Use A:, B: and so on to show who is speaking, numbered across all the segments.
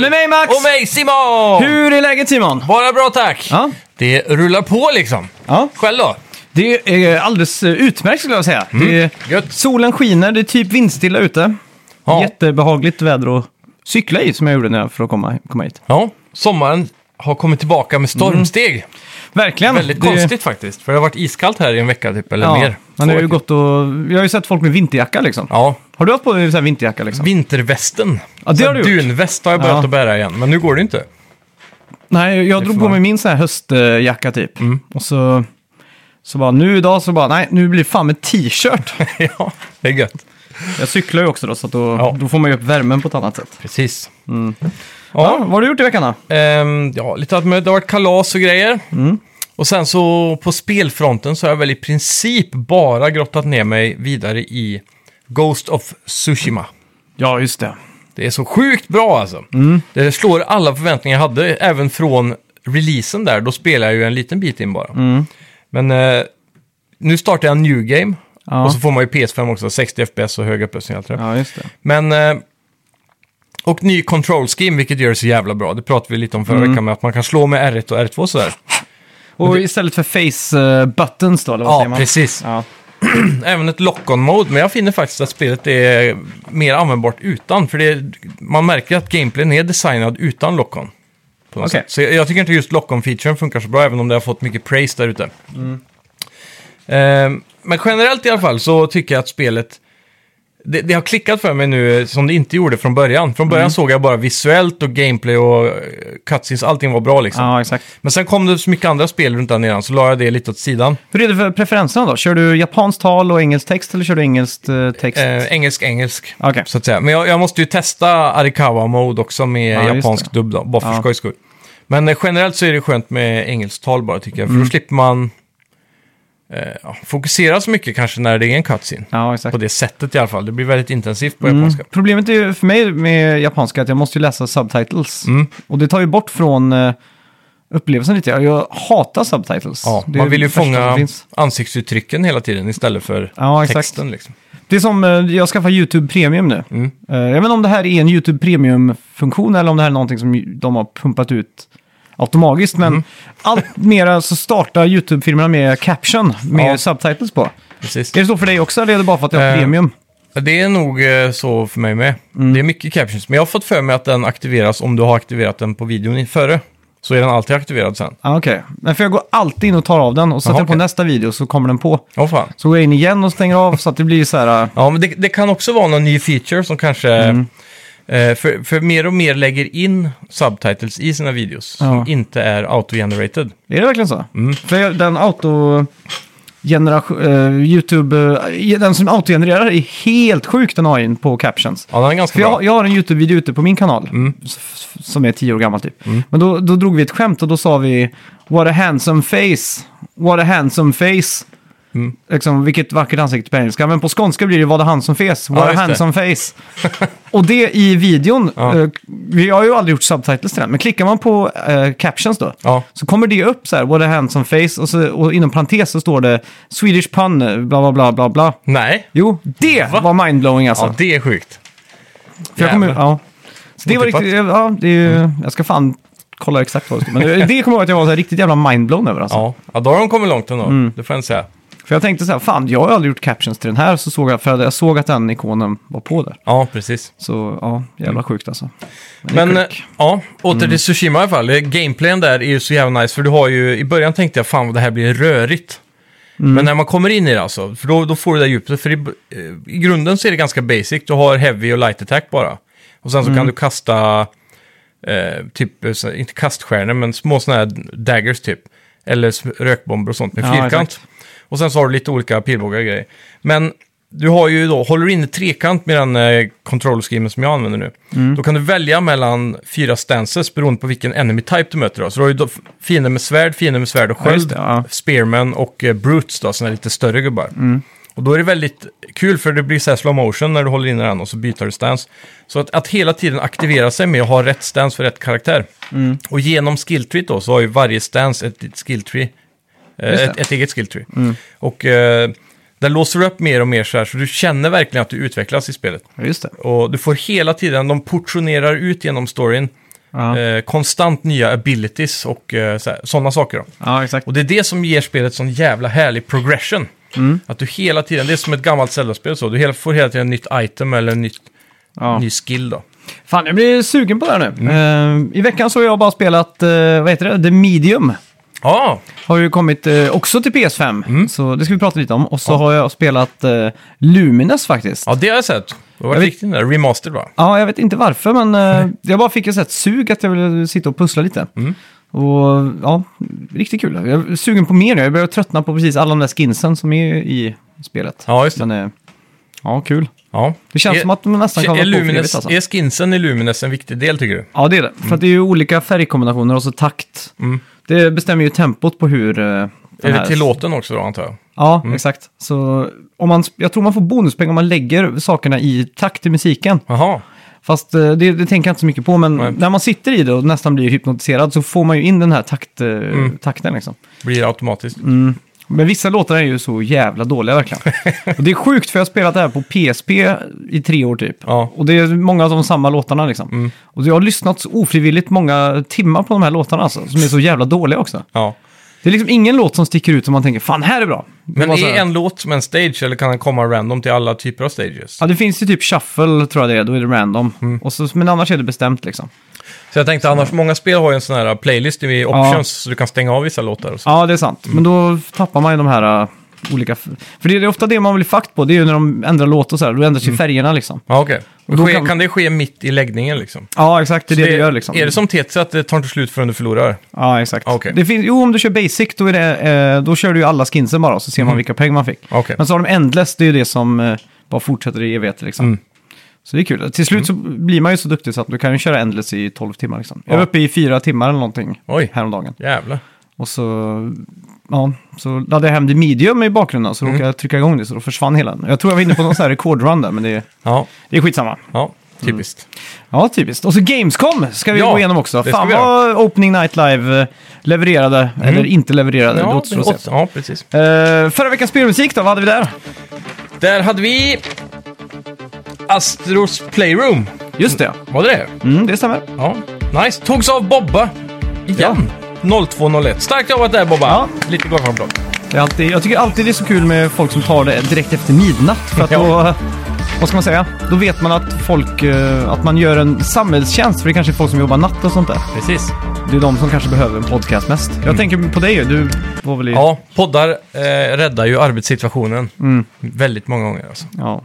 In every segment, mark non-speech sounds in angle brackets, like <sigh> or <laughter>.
A: Med mig Max!
B: Och mig Simon!
A: Hur är läget Simon?
B: Bara bra tack!
A: Ja.
B: Det rullar på liksom.
A: ja.
B: Själv då?
A: Det är alldeles eh, utmärkt skulle jag säga. Det är,
B: Mm. Gött.
A: solen skiner, det är typ vindstilla ute.
B: Ja.
A: Jättebehagligt väder att cykla i som jag gjorde när jag, för att komma, komma hit.
B: Ja. Sommaren har kommit tillbaka med stormsteg.
A: Verkligen.
B: Väldigt
A: Mm. Det-
B: konstigt faktiskt. För det har varit iskallt här i en vecka typ, eller
A: Ja,
B: mer.
A: man
B: Två
A: har ju
B: veckor.
A: gått och, jag har ju sett folk med vinterjacka liksom.
B: Ja.
A: Har du haft på dig så här vinterjacka liksom?
B: Vintervästen.
A: Ja, det
B: Så
A: har du gjort.
B: Dunväst har jag börjat
A: Ja.
B: att bära igen, men nu går det inte. <laughs>
A: Nej, jag
B: är
A: drog
B: för
A: på mig
B: varmt. Mm.
A: min så här höstjacka typ. Och så, så bara, nu idag så bara, nej, nu blir det fan med t-shirt.
B: ja, det är gött.
A: jag cyklar ju också då, så att då,
B: Ja.
A: då får man ju upp värmen på ett annat sätt.
B: Precis.
A: Ja,
B: Ja,
A: vad har du gjort i veckan då?
B: ehm, ja, lite allt möjligt. Det har varit kalas och grejer. Och sen så på spelfronten så har jag väl i princip bara grottat ner mig vidare i Ghost of Tsushima.
A: Ja, just det.
B: Det är så sjukt bra alltså. Det slår alla förväntningar jag hade, även från releasen där. Då spelar jag ju en liten bit in bara. Men eh, nu startar jag en new game.
A: Ja.
B: Och så får man ju PS5 också, 60 FPS och hög upplösning och allt det där.
A: Ja, just det.
B: Men... eh, Och ny control scheme, vilket gör det så jävla bra. Det pratade vi lite om förra veckan med att man kan slå med R1 och R2 sådär.
A: Och istället för face eh, buttons då, eller vad
B: Ja,
A: säger man?
B: precis.
A: Ja,
B: Även ett lock-on-mode, men jag finner faktiskt att spelet är mer användbart utan. För det är, man märker att gameplayen är designad utan lock-on. på något
A: Okej.
B: sätt. Så jag, jag tycker inte just lock-on-featuren funkar så bra, även om det har fått mycket praise där ute.
A: Mm.
B: Ehm, men generellt i alla fall så tycker jag att spelet... Det, det har klickat för mig nu eh, som det inte gjorde från början. Från
A: Mm.
B: början såg jag bara visuellt och gameplay och eh, cutscenes, allting var bra liksom.
A: ja exakt.
B: Men sen kom det så mycket andra spel runt den eran, så la jag det lite åt sidan.
A: Hur är det för preferenserna då? Kör du japanskt tal och engelsk text eller kör du engelsk eh, text?
B: Eh, engelsk, engelsk.
A: Okej.
B: <laughs> Så att säga. Men jag, jag måste ju testa Arikawa-mode också med
A: Ja, just
B: japansk dubb då, bara för
A: Ja.
B: skojs skull. Men eh, generellt så är det skönt med engelskt tal bara tycker jag, för
A: Mm.
B: då slipper man eh, ja, fokusera så mycket kanske när det är en cutscene.
A: Ja, exakt.
B: På det sättet i alla fall, det blir väldigt intensivt
A: Mm.
B: på japanska.
A: Problemet är ju för mig med japanska att jag måste ju läsa subtitles.
B: Mm.
A: Och det tar ju bort från eh, upplevelsen lite. Jag- Jag hatar subtitles.
B: Ja,
A: det är
B: man vill ju
A: det värsta som
B: fånga
A: finns.
B: ansiktsuttrycken hela tiden istället för
A: Ja, exakt.
B: texten. Liksom.
A: Det är som, eh, jag skaffar YouTube Premium nu.
B: Mm.
A: Eh, jag vet inte om det här är en YouTube Premium-funktion eller om det här är någonting som ju- de har pumpat ut automatiskt.
B: Mm.
A: Men allt mera så startar YouTube-filmerna med caption med
B: Ja.
A: subtitles på.
B: Precis.
A: Är det så för dig också eller är det bara för att jag har
B: Eh,
A: Premium?
B: Det är nog eh, så för mig med.
A: Mm.
B: Det är mycket captions, men jag har fått för mig att den aktiveras om du har aktiverat den på videon i- före. Så är den alltid aktiverad sen.
A: Ah, Okej, Men för jag går alltid in och tar av den och sätter
B: Jaha,
A: den på
B: okej.
A: nästa video så kommer den på.
B: Åh fan.
A: Så går jag in igen och stänger av så att det blir så här... äh,
B: Ja, men det, det kan också vara någon ny feature som kanske...
A: Mm.
B: Eh, för, för mer och mer lägger in subtitles i sina videos
A: Ja.
B: som inte är auto-generated.
A: Är det verkligen så?
B: Mm.
A: För jag- den auto... Generation, YouTube, eh, den som autogenererar är helt sjuk den AIn på captions.
B: Ja, den är ganska
A: För
B: bra. Mm.
A: jag, jag har en YouTube-video ute på min kanal s- f- som är tio år gammal typ. Men då, då drog vi ett skämt och då sa vi “What a handsome face, what a handsome face”.
B: Mm.
A: Liksom, vilket vackert ansikte på engelska. Men på skånska blir det “Vad a handsome face, what a
B: just det.
A: handsome
B: <laughs>
A: face”. och det i videon,
B: Ja.
A: eh, vi har ju aldrig gjort subtitles till den, men klickar man på eh, captions då,
B: Ja.
A: så kommer det upp så här “What a handsome face” och, så, och inom parentes så står det “Swedish pun, bla bla bla bla bla”.
B: Nej.
A: Jo, det
B: Va?
A: var mindblowing alltså.
B: Ja, det är sjukt.
A: För jag kommer,
B: Jävlar.
A: ja. Så det var
B: Otippat. Mm.
A: riktigt, ja, det är ju, jag ska fan kolla exakt vad det stod. Men det- det kommer jag ihåg att jag var så här riktigt jävla mindblown över alltså.
B: Ja. ja, då har de kommit långt ändå.
A: Mm.
B: Det får jag inte säga.
A: För jag tänkte så här, fan jag har aldrig gjort captions till den här, så såg jag, för jag såg att den ikonen var på där.
B: Ja, precis.
A: Så ja, jävla sjukt alltså. det är
B: Men eh,
A: sjuk.
B: ja, åter till Tsushima i alla fall. Eh, Gameplayen där är ju så jävla nice, för du har ju, i början tänkte jag fan vad det här blir rörigt.
A: Mm.
B: Men när man kommer in i det alltså, för då, då får du det där djupet. För i, eh, i grunden så är det ganska basic, du har heavy och light attack bara. Och sen så
A: Mm.
B: kan du kasta, eh, typ, eh, så- inte kaststjärnor, men små sådana här daggers typ. Eller sm- rökbomber och sånt med
A: Ja,
B: fyrkant.
A: exakt.
B: Och sen så har du lite olika pilbågar och grejer. Men du har ju då, håller du inne trekant med den eh, control schemen som jag använder nu,
A: Mm.
B: då kan du välja mellan fyra stances beroende på vilken enemy type du möter. Då. Så du har ju då f- fiender med svärd, fiender med svärd och
A: Ja, just
B: sköld,
A: det, ja. Mm.
B: spearmen och eh, brutes, då, såna här lite större gubbar. Och då är det väldigt kul för det blir så här slow motion när du håller inne den och så byter du stance. Så att, att hela tiden aktivera sig med att ha rätt stance för rätt karaktär.
A: Mm.
B: Och genom skilltree då så har ju varje stance ett litet skilltree Eh,
A: Just det. Mm.
B: ett, ett eget skill tree. Och eh, där låser du upp mer och mer så här, så du känner verkligen att du utvecklas i spelet.
A: Ja, just det.
B: Och du får hela tiden, de portionerar ut genom storyn
A: Ja.
B: Eh, konstant nya abilities och eh, sådana saker. Då.
A: ja, exakt.
B: Och det är det som ger spelet sån jävla härlig progression.
A: Mm.
B: Att du hela tiden, det är som ett gammalt Zelda-spel så, du hela, får hela tiden nytt item eller nytt,
A: Ja.
B: ny skill då.
A: Fan, jag blir sugen på det här
B: Mm.
A: nu. Eh, I veckan så har jag bara spelat, eh, vad heter det, The Medium.
B: Ja,
A: Har ju kommit eh, också till PS5,
B: Mm.
A: så det ska vi prata lite om. Och så har jag spelat eh, Lumines faktiskt. Ja.
B: ja det har jag sett. Det har varit
A: Jag vet-
B: riktigt den där, remastered va?
A: jag vet inte varför, men eh, jag bara fick ett sånt sug att jag ville sitta och pussla lite.
B: Mm.
A: Och ja, riktigt kul. Jag är sugen på mer nu. Jag börjar tröttna på precis alla de där skinsen som är i spelet.
B: Ja, just det.
A: Men, eh, ja, kul.
B: Ja.
A: Det känns
B: Är-
A: som att de nästan kan
B: är,
A: vara på för
B: Lumines,
A: evigt, alltså.
B: är skinsen i Lumines en viktig del tycker du?
A: Ja, det är det. För att det är ju olika färgkombinationer och så takt. Det bestämmer ju tempot på hur... eh, den
B: Mm. Är
A: här-
B: det Mm. tillåten också då antar jag?
A: Ja, exakt. Så om man, jag tror man får bonuspengar om man lägger sakerna i takt till musiken.
B: Jaha,
A: Fast eh, det, det tänker jag inte så mycket på, men
B: Nej.
A: när man sitter i det och nästan blir hypnotiserad så får man ju in den här takt, eh,
B: Mm.
A: takten liksom.
B: blir det automatiskt.
A: Mm. Men vissa låtar är ju så jävla dåliga verkligen. och det är sjukt för jag har spelat det här på PSP i tre år typ.
B: Ja. Mm.
A: Och det är många av de samma låtarna liksom. Och jag har lyssnat så ofrivilligt många timmar på de här låtarna alltså, som är så jävla dåliga också.
B: Ja.
A: Det är liksom ingen låt som sticker ut som man tänker, fan här är bra. Det
B: Men
A: var så
B: är
A: här-
B: en låt som en stage eller kan den komma random till alla typer av stages?
A: Ja, det finns ju typ shuffle tror jag det är, då är det random.
B: Mm.
A: Och så, men annars är det bestämt liksom.
B: Så jag tänkte annars, många spel har ju en sån här playlist i options så du kan stänga av vissa låtar och så.
A: Ja, det är sant. Men då tappar man ju de här äh, olika... f- För det är ofta det man blir fakt på, det är ju när de ändrar låt och så här, då ändras ju
B: Mm.
A: färgerna liksom.
B: Ja, okej.
A: Och då
B: Ske-
A: kan-
B: Kan... det ske mitt i läggningen liksom?
A: Ja, exakt, det är det, du gör liksom.
B: Är det som Tetris att det tar inte slut förrän du förlorar?
A: Ja, exakt.
B: Okej.
A: Det finns, jo, om du kör basic, då, är det, eh, då kör du ju alla skinsen bara, så ser man vilka pengar man fick.
B: Mm. Ah, Okej.
A: Men så har de endless, det är ju det som eh, bara fortsätter i evigheter liksom.
B: Mm.
A: Så det är kul. Till slut så blir man ju så duktig så att du kan ju köra endless i 12 timmar liksom. Jag var
B: Ja.
A: uppe i fyra timmar eller någonting
B: Oj.
A: häromdagen.
B: Jävlar.
A: Och så, ja, så laddade jag hem det medium i bakgrunden
B: Mm.
A: så råkade jag trycka igång det så då försvann hela den. Jag tror jag var inne på någon sån här rekordrun där men det,
B: Ja,
A: det är skitsamma.
B: ja. typiskt.
A: Mm. Ja, typiskt. Och så Gamescom ska vi
B: Ja,
A: gå igenom också.
B: det ska
A: Fan
B: vi göra. Mm.
A: vad Opening Night Live eh, levererade, eller inte levererade, det
B: Ja,
A: återstår att
B: åt-
A: se.
B: ja, precis.
A: Eh, förra veckans spelmusik då, vad hade vi där?
B: Där hade vi Astros Playroom.
A: Just det,
B: Var det det?
A: mm, det stämmer.
B: Ja. Nice. Togs av Bobba. Igen. 02.01. Starkt jobbat där Bobba.
A: Ja.
B: Lite golfarmblad.
A: Det är alltid, jag tycker alltid det är så kul med folk som tar det direkt efter midnatt. För att
B: Ja.
A: då, vad ska man säga, då vet man att folk, eh, att man gör en samhällstjänst för det kanske är folk som jobbar natt och sånt där.
B: Precis.
A: Det är de som kanske behöver en podcast mest. Jag tänker på dig ju, du var väl i...
B: Mm. Ja, poddar eh, räddar ju arbetssituationen.
A: Mm.
B: Väldigt många gånger alltså.
A: Ja,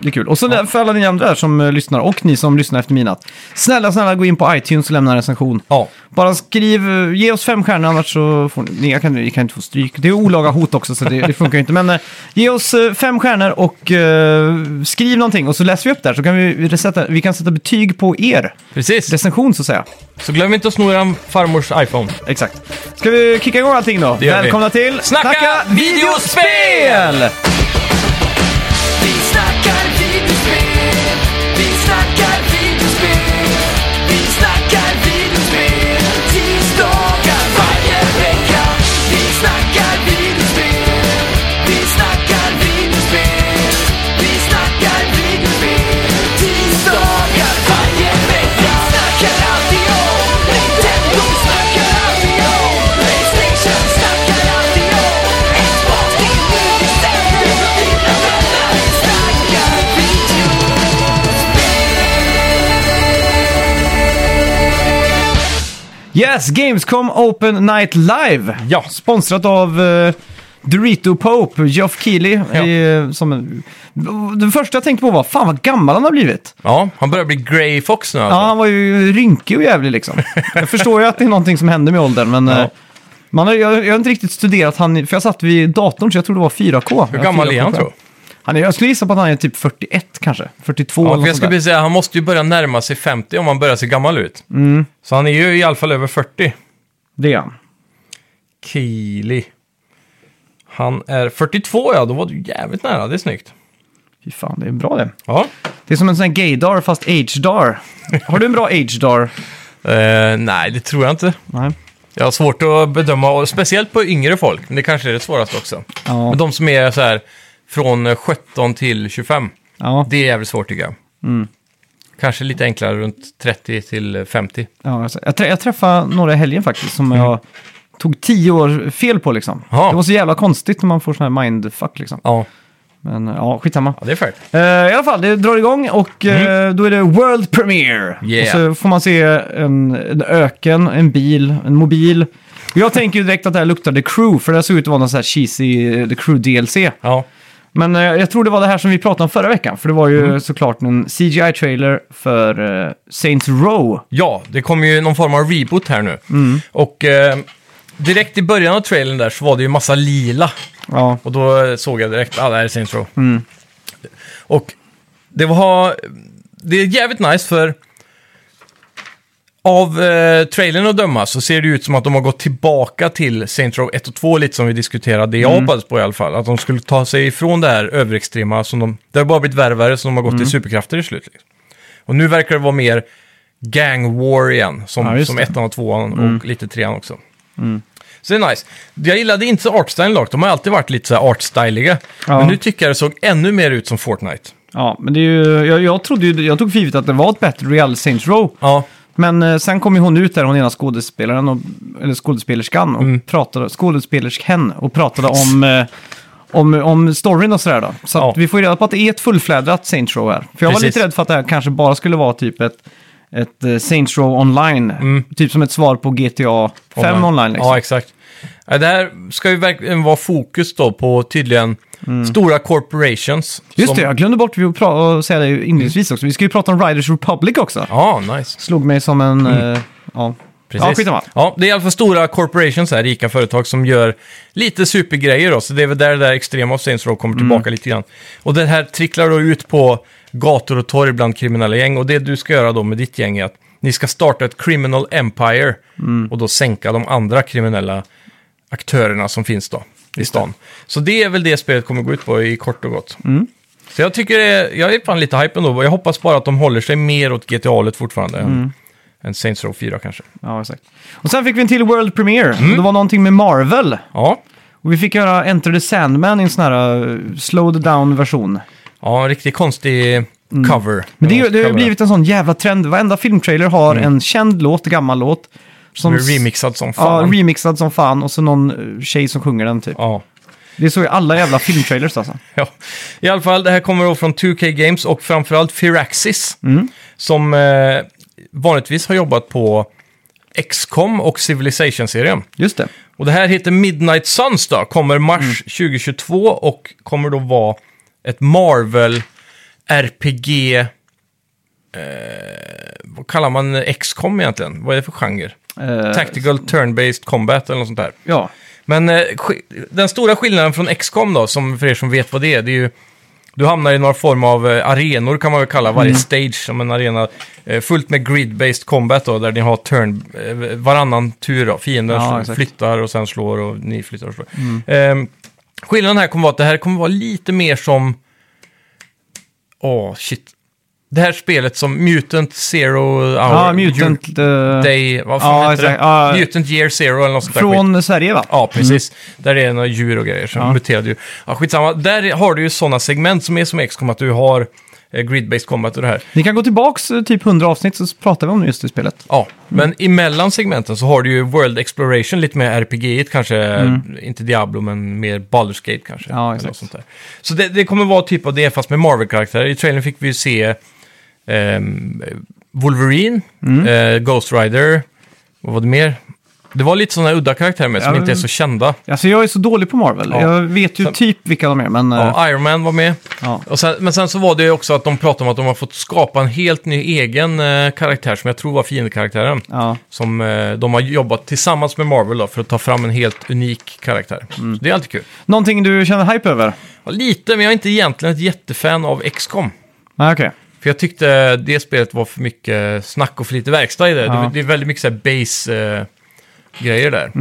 A: Det är kul. Och så där- för alla ni andra där som eh, lyssnar och ni som lyssnar efter midnatt. Snälla, snälla gå in på iTunes och lämna en recension.
B: Ja,
A: Bara skriv, eh, ge oss fem stjärnor annars så får ni, nej, jag kan, ni kan inte få stryk. Det är olaga hot också så det, det funkar ju inte. Men eh, ge oss eh, fem stjärnor och eh, skriv någonting och så läser vi upp där så kan vi, sätta, vi kan sätta betyg på er
B: precis.
A: recension så att säga.
B: Så glöm inte att sno er farmors iPhone.
A: Exakt. Ska vi kicka igång allting då?
B: Det gör vi.
A: Välkomna till
B: Snacka videospel!
C: Vi snackar videospel, vi snackar videospel, vi snackar videospel tisdagar varje vecka. Vi snackar videospel, vi snackar videospel, vi snackar videospel tisdagar varje vecka. Snackar alltid om Nintendo, snackar alltid om Playstation, snackar alltid om Xbox, det är nu vi sänder och dina vänner snackar video.
A: Yes, Gamescom Open Night Live.
B: Ja.
A: Sponsrat av eh, Dorito Pope, Geoff Keighley.
B: Ja.
A: eh, som en, det första jag tänkte på var, fan vad gammal han har blivit.
B: Ja, han börjar bli Grey Fox nu alltså.
A: Ja, han var ju rynkig och jävlig
B: <laughs>
A: liksom. jag förstår ju att det är någonting som händer med åldern, men
B: Ja.
A: eh, man har, jag, jag har inte riktigt studerat han, för jag satt vid datorn så jag tror det var 4K.
B: Hur gammal är han
A: 4K.
B: tror du?
A: han är, Jag skulle gissa på att han är typ 41 kanske, 42
B: Ja,
A: eller
B: för jag
A: något
B: skulle
A: sånt där.
B: precis säga, han måste ju börja närma sig 50 om han börjar se gammal ut.
A: Mm.
B: Så han är ju i alla fall över 40.
A: Det är han.
B: Keely. Han är 42 ja, då var du jävligt nära. Det är snyggt.
A: Fy fan, det är bra det.
B: Ja.
A: Det är som en sån här gaydar fast agedar. Har du en bra
B: <laughs>
A: agedar?
B: Eh, nej, det tror jag inte.
A: Nej.
B: Jag har svårt att bedöma, och speciellt på yngre folk, men det kanske är det svåraste också.
A: Ja.
B: Men de som är så här från eh, 17 till 25,
A: Ja. Mm.
B: det är jävligt svårt tycker jag. Kanske lite enklare runt 30 till 50.
A: Ja, alltså, jag, trä- jag träffade några i helgen faktiskt som jag tog tio år fel på liksom.
B: Mm. Ja.
A: Det var så jävla konstigt när man får sån här mindfuck liksom.
B: Ja,
A: Men eh, ja, skitsamma.
B: ja det är fair.
A: Eh, I alla fall, det drar igång och eh, då är det World Premiere.
B: Mm. Yeah.
A: Och så får man se en, en öken, en bil, en mobil. Och jag tänker ju direkt att det här luktar The Crew, för det här såg ut att vara någon sån här cheesy eh, The Crew-DLC.
B: Ja,
A: Men eh, jag tror det var det här som vi pratade om förra veckan, för det var ju
B: Mm.
A: såklart en CGI-trailer för eh, Saints Row.
B: ja det kommer ju någon form av reboot här nu. Och eh, direkt i början av trailern där så var det ju massa lila.
A: Ja,
B: Och då eh, såg jag direkt, ah, det här är Saints Row.
A: Mm.
B: Och det var... Det är jävligt nice för... Av eh, trailern att döma så ser det ut som att de har gått tillbaka till Saints Row 1 och 2 lite som vi diskuterade. Det jag
A: Mm.
B: hoppades på i alla fall. Att de skulle ta sig ifrån det här överextrema som de... Det har bara blivit värvare som de har gått
A: Mm.
B: till superkrafter i slut. Liksom. Och nu verkar det vara mer gang war igen.
A: Ja,
B: Som,
A: just
B: som
A: det. Mm.
B: ettan och tvåan och lite trean också. Så det är nice. Jag gillade inte så artstylen dock. De har alltid varit lite så här artstyliga.
A: Ja.
B: Men nu tycker jag det såg ännu mer ut som Fortnite.
A: ja men det är ju, jag, jag trodde ju, jag tog för givet att det var ett bättre Real Saints Row.
B: Ja,
A: Men eh, sen kom ju hon ut där, hon ena skådespelaren, och, eller skådespelerskan, och
B: Mm.
A: pratade, skådespelersken, och pratade om, eh, om, om storyn och sådär då. Så
B: Ja.
A: att vi får ju reda på att det är ett fullflädrat Saints Row här. För jag var
B: Precis.
A: lite rädd för att det här kanske bara skulle vara typ ett, ett eh, Saints Row online. Typ som ett svar på GTA 5 online. liksom.
B: Mm. Ja, exakt. Ja, Det här ska ju verkligen vara fokus då på tydligen stora corporations.
A: Mm. Just
B: som-
A: det, jag glömde bort vi att pra- att säga det inledningsvis också. Vi ska ju prata om Riders Republic också.
B: Ja, nice.
A: Slog mig som en... eh, ja.
B: Mm. Precis.
A: ja, skitsamma.
B: Ja, det är i alla fall stora corporations här, rika företag som gör lite supergrejer då. Så det är väl där det där extrema av Saints Row kommer
A: Mm.
B: tillbaka lite grann. Och det här tricklar då ut på gator och torg bland kriminella gäng. Och det du ska göra då med ditt gäng är att ni ska starta ett criminal empire
A: Mm.
B: och då sänka de andra kriminella aktörerna som finns då i stan. Så det är väl det spelet kommer gå ut på i kort och gott.
A: Mm.
B: Så jag tycker det är, jag är fan lite hype ändå. Jag hoppas bara att de håller sig mer åt GTA-et fortfarande
A: Mm.
B: än, än Saints Row 4 kanske.
A: Ja, exakt. Och sen fick vi en till World Premiere.
B: Mm.
A: Det var någonting med Marvel.
B: Ja,
A: Och vi fick göra Enter the Sandman i en sån här uh, slowed down version.
B: ja en riktigt konstig cover.
A: Mm. Men det, är ju-
B: Eller
A: det har ju
B: cover.
A: blivit en sån jävla trend. Varenda filmtrailer har
B: Mm.
A: en känd låt, gammal låt. Som
B: Den är remixad som
A: Ja,
B: fan. Ja,
A: remixad som fan och så någon uh, tjej som sjunger den typ.
B: ja.
A: Det är så i alla jävla filmtrailers alltså.
B: I alla fall, det här kommer då från 2K Games och framförallt Firaxis.
A: Mm.
B: Som eh, vanligtvis har jobbat på XCOM och Civilization-serien.
A: Just det.
B: Och det här heter Midnight Suns då, kommer mars
A: Mm.
B: 2022 och kommer då vara ett Marvel RPG... Eh, vad kallar man XCOM egentligen? Vad är det för genre?
A: Eh,
B: Tactical Turn-Based Combat eller något sånt där.
A: Ja,
B: Men eh, sk- den stora skillnaden från XCOM då, som för er som vet vad det är, det är ju... Du hamnar i någon form av eh, arenor kan man väl kalla
A: Mm.
B: varje stage som en arena. Eh, fullt med grid-based combat då, där ni har turn, eh, varannan tur då. Fienden
A: Ja,
B: slår-
A: exakt. Mm.
B: flyttar och sen slår och ni flyttar och slår. Eh, skillnaden här kommer vara att det här kommer vara lite mer som... Åh, shit. Det här spelet som Mutant Zero Hour...
A: ja Mutant... eh,
B: Day... Vad fan
A: Ja,
B: heter det?
A: exakt. Ja.
B: Mutant Year Zero eller något sånt där skit.
A: från Mm. Sverige va?
B: Ja, precis. Där är det några djur och grejer som muterade djur. Ja, skitsamma. Där har du ju sådana segment som är som XCOM, att du har eh, grid-based combat och det här.
A: Ni kan gå tillbaks eh, typ 100 avsnitt så pratar vi om just det spelet.
B: Ja, men emellan segmenten så har du ju World Exploration, lite mer rpg kanske. Inte Diablo, men mer Baldur's Gate kanske.
A: Mm. Ja,
B: eller
A: exakt.
B: något sånt där. Så det, det kommer vara typ av det, fast med Marvel-karaktärer. I trailern fick vi ju se ehm, Wolverine,
A: Mm.
B: eh, Ghost Rider, vad var det mer? Det var lite sådana udda karaktärer med, som
A: Ja,
B: inte är så kända.
A: Alltså jag är så dålig på Marvel.
B: Ja.
A: Jag vet ju
B: Så-
A: typ vilka de är men... eh,
B: Ja, Iron Man var med.
A: ja.
B: Och sen, men sen så var det ju också att de pratade om att de har fått skapa en helt ny egen eh, karaktär som jag tror var fiendekaraktären.
A: ja.
B: Som eh, de har jobbat tillsammans med Marvel då, för att ta fram en helt unik karaktär. Så det är alltid kul.
A: Någonting du känner hype över?
B: Ja, lite, men jag är inte egentligen ett jättefan av XCOM.
A: Nej, okej.
B: För jag tyckte det spelet var för mycket snack och för lite verkstad i det.
A: Ja.
B: Det, det är väldigt mycket så här base eh, grejer där.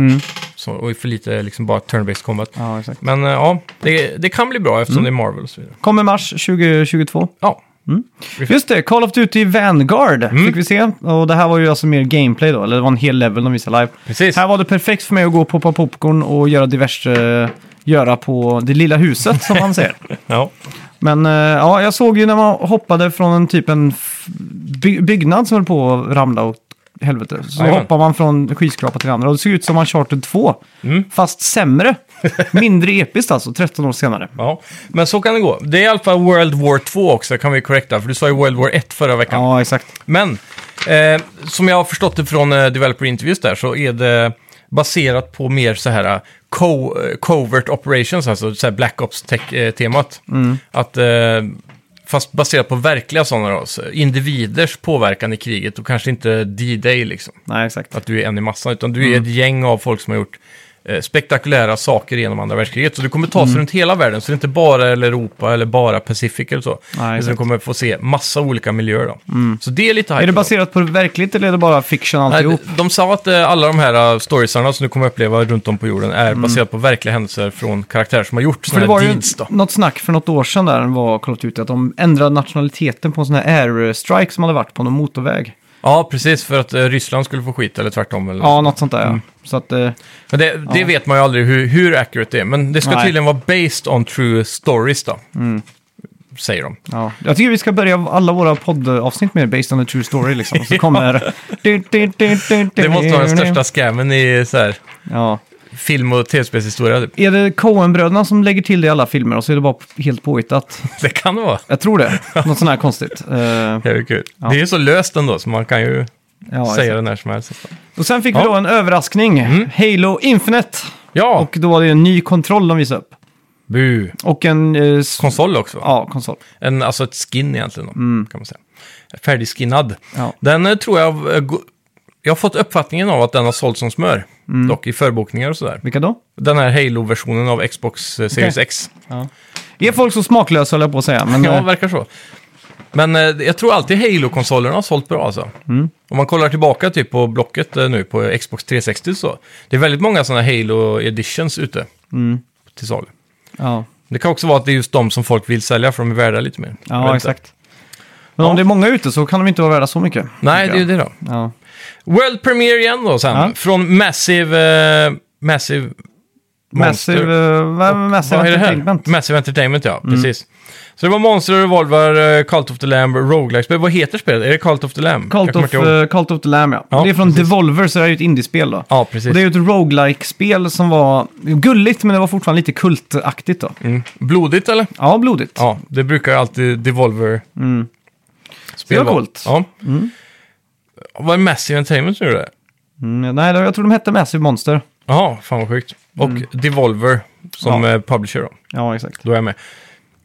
B: Så, och för lite liksom bara turn-based combat.
A: Ja, exakt.
B: Men eh, ja, det, det kan bli bra eftersom det är Marvel och så vidare.
A: Kommer mars 2022.
B: Ja,
A: Just det, Call of Duty Vanguard
B: Mm.
A: fick vi se. Och det här var ju alltså mer gameplay då, eller det var en hel level de visade live.
B: precis.
A: Här var det perfekt för mig att gå och eh, poppa
B: <laughs>
A: popcorn och göra diverse... Göra på det lilla huset, som man säger.
B: Ja.
A: Men eh, ja, jag såg ju när man hoppade från en typ en f- by- byggnad som höll på att ramla åt helvete. Så
B: Jajamän.
A: hoppar man från skyskrapa till andra och det såg ut som Uncharted 2.
B: Mm.
A: Fast sämre.
B: <laughs>
A: Mindre episkt alltså, 13 år senare.
B: Ja, men så kan det gå. Det är i alla fall World War 2 också, kan vi korrekta, för du sa ju World War 1 förra veckan.
A: Ja, exakt.
B: Men, eh, som jag har förstått det från eh, developer interviews där, så är det baserat på mer så här eh, co- eh, covert operations, alltså så här Black Ops-temat. Att, eh, fast baserat på verkliga sådana då, så individers påverkan i kriget och kanske inte D-Day liksom.
A: Nej, exakt.
B: Att du är en i massan, utan du
A: Mm.
B: är ett gäng av folk som har gjort eh, spektakulära saker genom andra världskriget. Så du kommer ta sig
A: Mm.
B: runt hela världen, så det är inte bara eller Europa eller bara Pacific eller så. Nej, så du
A: exakt. Mm.
B: kommer få se massa olika miljöer då. Så det är lite hype.
A: Är det
B: då.
A: baserat på verkligt eller är det bara fiction
B: Nej,
A: alltihop?
B: de- de sa att eh, alla de här eh, storiesarna som du kommer uppleva runt om på jorden är baserat på verkliga händelser från karaktärer som har gjort
A: Mm. För det
B: sådana
A: var
B: här
A: ju
B: deeds då.
A: något snack för något år sedan där var Call of Duty att de ändrade nationaliteten på en sån här airstrike som hade varit på någon motorväg.
B: Ja, precis. För att eh, Ryssland skulle få skit eller tvärtom. Eller
A: Ja, något sånt där
B: Mm.
A: ja. Så att, eh,
B: Men det, det vet man ju aldrig hur, hur accurate det är. Men det ska
A: Nej. Mm.
B: tydligen vara based on true stories då. Säger de.
A: ja. Jag tycker vi ska börja alla våra poddavsnitt med Based on a True Story liksom.
B: <laughs>
A: Så kommer...
B: Det måste vara den största scammen i så här,
A: Ja.
B: film och tv-spelshistoria. Typ.
A: Är det Coen-bröderna som lägger till det i alla filmer och så är det bara helt påhittat?
B: Det kan det vara.
A: Jag tror
B: <laughs>
A: det. Något sånt här konstigt. Eh,
B: Det är ju kul. Det är ju så löst ändå, så man kan ju
A: ja,
B: säga det när som helst.
A: Och sen fick
B: Ja. Mm.
A: vi då en överraskning. Halo Infinite.
B: Ja,
A: Och då var det en ny kontroll de visade upp.
B: bu.
A: Och en... Eh, s-
B: Konsol också.
A: ja, Mm. konsol.
B: En, alltså ett skin egentligen, då, kan man säga. Färdigskinnad.
A: Ja.
B: Den eh, tror jag... eh, go- Jag har fått uppfattningen av att den har sålts som smör.
A: Mm.
B: Dock i förbokningar och sådär.
A: Vilka då?
B: Den här Halo-versionen av Xbox eh, Series
A: Okej.
B: X.
A: Är folk så smaklösa höll jag på att säga. Men,
B: Ja,
A: eh,
B: verkar så. Men eh, jag tror alltid Halo-konsolerna har sålt bra alltså.
A: Mm.
B: Om man kollar tillbaka typ på Blocket eh, nu på Xbox 360 så. Det är väldigt många sådana Halo Editions ute
A: Mm.
B: till salu.
A: ja.
B: Det kan också vara att det är just de som folk vill sälja för de är värda lite mer. Jag vet
A: ja
B: inte.
A: exakt. Men om det är många ute så kan de inte vara värda så mycket.
B: Nej, det är ju
A: tycker jag.
B: det då.
A: Ja.
B: World Premiere igen då sen.
A: Ja.
B: Från Massive... eh, Massive... Monster.
A: Massive, uh, massive
B: Vad är det här?
A: Entertainment. Mm.
B: Massive Entertainment, ja. Precis. Så det var Monster, Revolver, eh, Cult of the Lamb, Roguelike. Vad heter spelet? Är det Cult of the Lamb? Jag
A: Cult
B: kommer
A: of,
B: inte ihåg.
A: eh, Cult of the Lamb, ja.
B: Ja,
A: det är från Devolver, så det här är ju ett indiespel då.
B: Ja,
A: Och
B: precis.
A: det är ju ett roguelike-spel som var gulligt, men det var fortfarande lite kultaktigt då.
B: Mm. Blodigt eller?
A: Ja, blodigt.
B: Ja, det brukar ju alltid Devolver
A: Mm.
B: spel
A: Det var
B: vara.
A: coolt.
B: Ja. Vad är Massive Entertainment nu det?
A: Mm, nej, jag tror de hette Massive Monster.
B: Jaha, fan vad sjukt. Och Devolver som
A: Mm. Ja.
B: eh, publisher då.
A: Ja, exakt.
B: Då är jag med.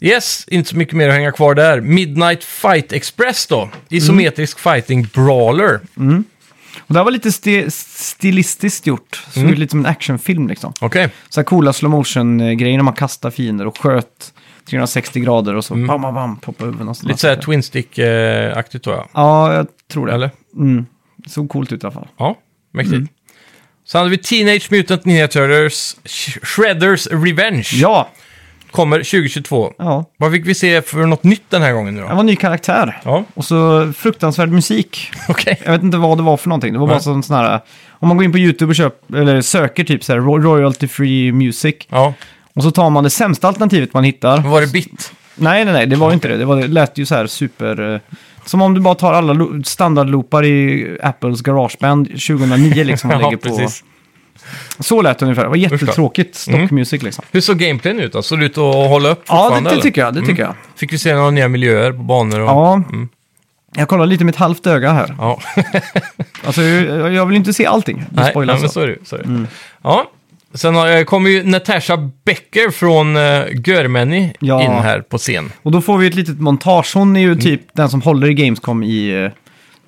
B: Yes, inte så mycket mer att hänga kvar där. Midnight Fight Express då. Isometrisk fighting brawler.
A: Och det här var lite sti- stilistiskt gjort. Såg
B: Mm.
A: ut lite som en actionfilm liksom.
B: Okej.
A: Så här coola slow motion-grejer när man kastar fiender och sköt 360 grader och så bam, bam, bam, poppa huvuden och sådär.
B: Mm. Lite så här Twin Stick-aktigt då ja.
A: Ja, jag tror det.
B: Eller?
A: Mm. Såg coolt ut i alla fall.
B: Ja, mäktigt.
A: Mm.
B: Så hade vi Teenage Mutant Ninja Turtles Sh- Shredders Revenge.
A: Ja,
B: Kommer 2022.
A: ja.
B: Vad fick vi se för något nytt den här gången nu
A: Det
B: då?
A: var en ny karaktär.
B: Ja, <laughs>
A: Och så fruktansvärd musik.
B: okej.
A: Jag vet inte vad det var för någonting. Det var bara
B: Nej.
A: sån sån här... Om man går in på YouTube och köp, eller söker typ så här ro- royalty free music.
B: Ja,
A: Och så tar man det sämsta alternativet man hittar.
B: var det bit?
A: Nej, nej, nej, det var ju inte det. Det, var, det lät ju så här super... eh, Som om du bara tar alla lo- standardloopar i Apples garageband 2009 liksom.
B: <laughs>
A: Och lägger på. Så lät det ungefär. Det var jättetråkigt
B: Mm.
A: stockmusik liksom.
B: Hur såg gameplayn ut då? Såg det ut att hålla upp
A: Ja,
B: fortfarande,
A: det, det
B: eller? Mm.
A: tycker jag. Det tycker jag.
B: Fick vi se några nya miljöer på banor? Och...
A: Ja. Jag kollar lite med ett halvt öga här.
B: Ja,
A: Alltså, jag jag vill inte se allting. Det
B: <laughs> nej,
A: spoilas alltså. Mm.
B: nej men
A: så.
B: så är det, ju, så är det. Ja, sen har jag, kommer ju Natasha Becker från uh, Görmänny
A: Ja.
B: in här på scen.
A: Och då får vi ett litet montage. Hon är
B: Mm.
A: ju typ den som håller i Gamescom i eh,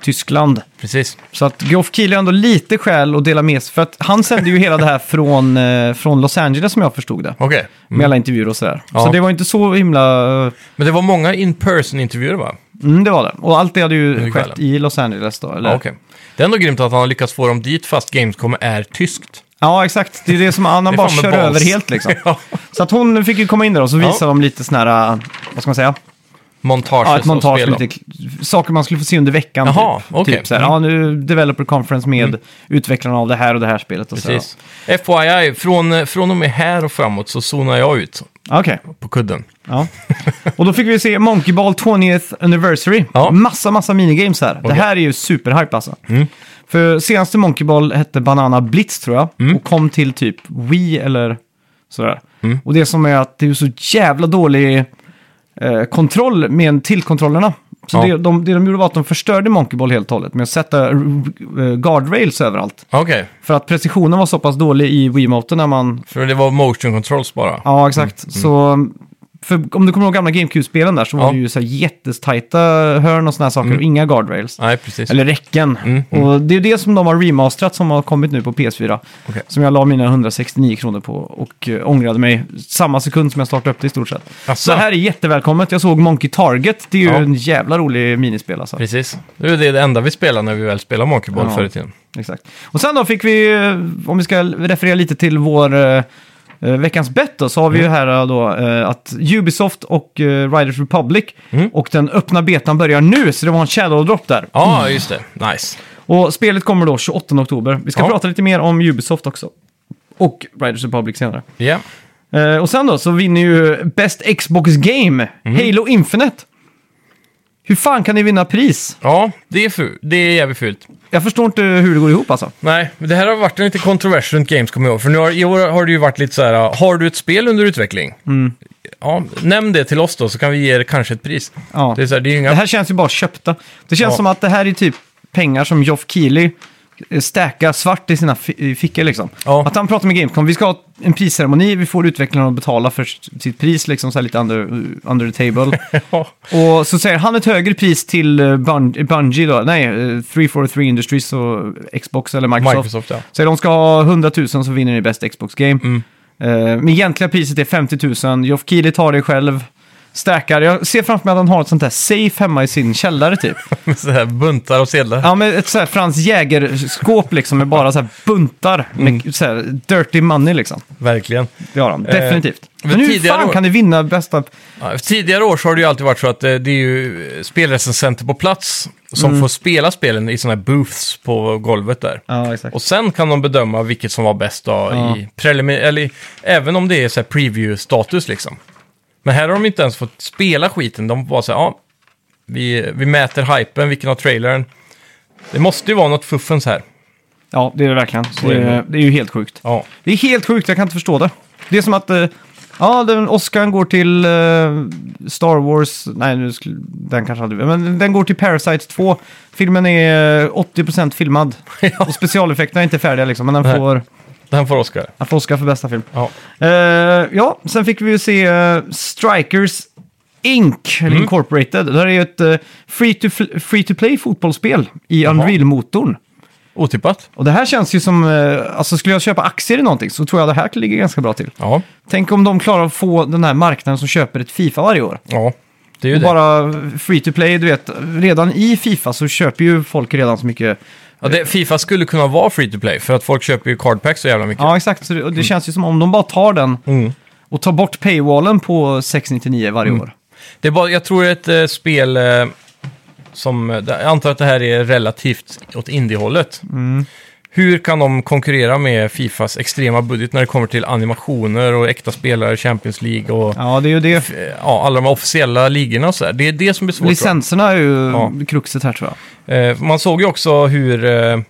A: Tyskland.
B: Precis.
A: Så att Geoff Keighley har ändå lite skäl att dela med sig. För att han sände ju hela det här från, eh, från Los Angeles som jag förstod det.
B: Okej.
A: Med alla intervjuer och sådär.
B: Mm. Ja.
A: Så det var inte så himla... eh,
B: Men det var många in-person-intervjuer va?
A: Mm, det var det. Och allt det hade ju
B: är
A: skett
B: kvällen.
A: i Los Angeles då, eller?
B: Ja, okej. Det är ändå grymt att han har lyckats få dem dit fast Gamescom är tyskt.
A: Ja, exakt. Det är det
B: <laughs>
A: som han
B: Det är
A: bara
B: fan med
A: kör
B: bas.
A: över helt liksom.
B: <laughs> ja.
A: Så att hon fick ju komma in där och så visade de lite sån här, eh, vad ska man säga?
B: montage
A: Ja, ett
B: av
A: montage
B: spel
A: med
B: då.
A: lite saker man skulle få se under veckan.
B: Jaha,
A: typ.
B: okej. Mm.
A: typ så här, ja, nu developer conference med utvecklarna av det här och det här spelet. Och så här,
B: Precis. FYI, från, från och med här och framåt så zonar jag ut
A: ja. Okej.
B: på kudden.
A: Ja. Och då fick vi se Monkey Ball 20th Anniversary.
B: Ja.
A: Massa, massa minigames här. Det
B: Okej. Mm.
A: här är ju superhype alltså. För senaste Monkey Ball hette Banana Blitz tror jag.
B: Mm.
A: Och kom till typ Wii eller sådär.
B: Mm.
A: Och det som är att det är ju så jävla dålig eh, kontroll med tillkontrollerna. Så
B: Ja.
A: det, de, det de gjorde var att de förstörde Monkey Ball helt och hållet med att sätta eh, guardrails överallt.
B: Okej,
A: För att precisionen var så pass dålig i Wiimoten när man
B: för det var motion controls bara.
A: Ja,
B: Mm,
A: exakt. Så, för om du kommer ihåg gamla GameCube-spelen där så var
B: Ja. Mm.
A: det ju så här jättetajta hörn och sådana här saker och inga guardrails.
B: Nej, precis. Mm,
A: Eller räcken. Och det är det som de har remasterat som har kommit nu på PS4.
B: Okej.
A: Som jag la mina 169 kronor på och eh, ångrade mig samma sekund som jag startade upp det i stort sett.
B: Asså.
A: Så det här är jättevälkommet. Jag såg Monkey Target. Det är ju
B: Ja.
A: en jävla rolig minispel alltså.
B: Precis. Det är det enda vi spelar när vi väl spelar Monkey Ball
A: Ja.
B: förr i tiden.
A: Exakt. Och sen då fick vi, eh, om vi ska referera lite till vår eh, eh, veckans bett då, så har vi ju här eh, då eh, att Ubisoft och eh, Riders Republic och den öppna betan börjar nu, så det var en shadow drop där.
B: Ja, just det. Nice.
A: Och spelet kommer då 28 oktober. Vi ska
B: Ja.
A: prata lite mer om Ubisoft också. Och Riders Republic senare.
B: Ja.
A: Eh, och sen då så vinner ju Best Xbox Game, Halo Infinite. Hur fan kan ni vinna pris?
B: Ja, det är, ful. det är jävligt fult.
A: Jag förstår inte hur det går ihop alltså.
B: Nej, men det här har varit en lite kontrovers runt Games, kommer jag ihåg. För nu har, i år har det ju varit lite så här, har du ett spel under utveckling?
A: Mm.
B: Ja, nämn det till oss då, så kan vi ge er kanske ett pris.
A: Ja.
B: Det är så här, det är ju inga...
A: Det här känns ju bara köpta. Det känns
B: Ja.
A: som att det här är typ pengar som Geoff Keighley eh, stackar svart i sina fi- i fickor liksom.
B: Ja.
A: Att han pratar med Gamescom, vi ska ha en prisceremoni, vi får utvecklarna att betala för s- sitt pris liksom, så här lite under, under the
B: <laughs>
A: table.
B: Ja.
A: och så säger han ett högre pris till eh, Bung- Bungie då, nej, eh, 343 Industries och Xbox eller Microsoft.
B: Microsoft, ja.
A: Säger de ska ha 100 000 så vinner ni bäst Xbox Game.
B: Mm.
A: Eh, men egentliga priset är 50 000. Geoff Keighley tar det själv. Stackar. Jag ser framför mig att han har ett sånt där safe hemma i sin källare
B: <laughs>
A: typ.
B: Med så här buntar och sedlar.
A: Ja, men ett så här Franz Jäger-skåp liksom med bara så här buntar
B: Mm.
A: med så här dirty money liksom.
B: Verkligen.
A: Det har han, definitivt.
B: Eh, men
A: Men hur
B: tidigare
A: fan
B: år-
A: kan ni vinna bästa...
B: Ja, för tidigare år så har det ju alltid varit så att eh, det är ju eh, spelrecensenter på plats som
A: Mm.
B: får spela spelen i sådana här booths på golvet där.
A: Ja, exakt.
B: Och sen kan de bedöma vilket som var bäst då
A: Ja.
B: i prelimin... Eller i- även om det är så här preview-status liksom. Men här har de inte ens fått spela skiten. De bara så här, ja, vi, vi mäter hypen, vilken har trailern? Det måste ju vara något fuffens här.
A: Ja, det är det verkligen. Det
B: är det.
A: är, det är ju helt sjukt.
B: Ja,
A: Det är helt sjukt, jag kan inte förstå det. Det är som att... Eh, ja, den Oscar går till eh, Star Wars... Nej, nu skulle, den kanske hade... Men den går till Parasite 2. Filmen är eh, 80% filmad. Och specialeffekterna är inte färdiga liksom, men den
B: Nej.
A: får,
B: den får Oscar.
A: den får Oscar för bästa film.
B: Ja.
A: Eh, ja, sen fick vi ju se eh, Strikers Inc. Eller Incorporated. Det här är ju ett eh, free, to fl- free to play fotbollsspel i Unreal-motorn.
B: Otippat.
A: Och det här känns ju som, eh, alltså skulle jag köpa aktier i någonting så tror jag det här ligger ganska bra till.
B: Ja,
A: Tänk om de klarar att få den här marknaden som köper ett Fifa varje år.
B: ja. det är ju
A: Och
B: det.
A: bara free to play, du vet, redan i Fifa så köper ju folk redan så mycket.
B: Ja, det, Fifa skulle kunna vara free to play för att folk köper ju cardpacks så jävla mycket.
A: Ja, exakt. Så det, och
B: Mm.
A: det känns ju som om de bara tar den och tar bort paywallen på 699 varje
B: Mm.
A: år.
B: Det är bara, jag tror det är ett eh, spel eh, som, eh, jag antar att det här är relativt åt indiehållet. Hur kan de konkurrera med Fifas extrema budget när det kommer till animationer och äkta spelare, Champions League och
A: Ja, det är ju det.
B: eh, ja, alla de officiella ligorna och så här. Det är det som blir svårt. tror jag.
A: Licenserna är ju
B: Ja.
A: kruxet här tror jag.
B: Eh, man såg ju också hur, eh,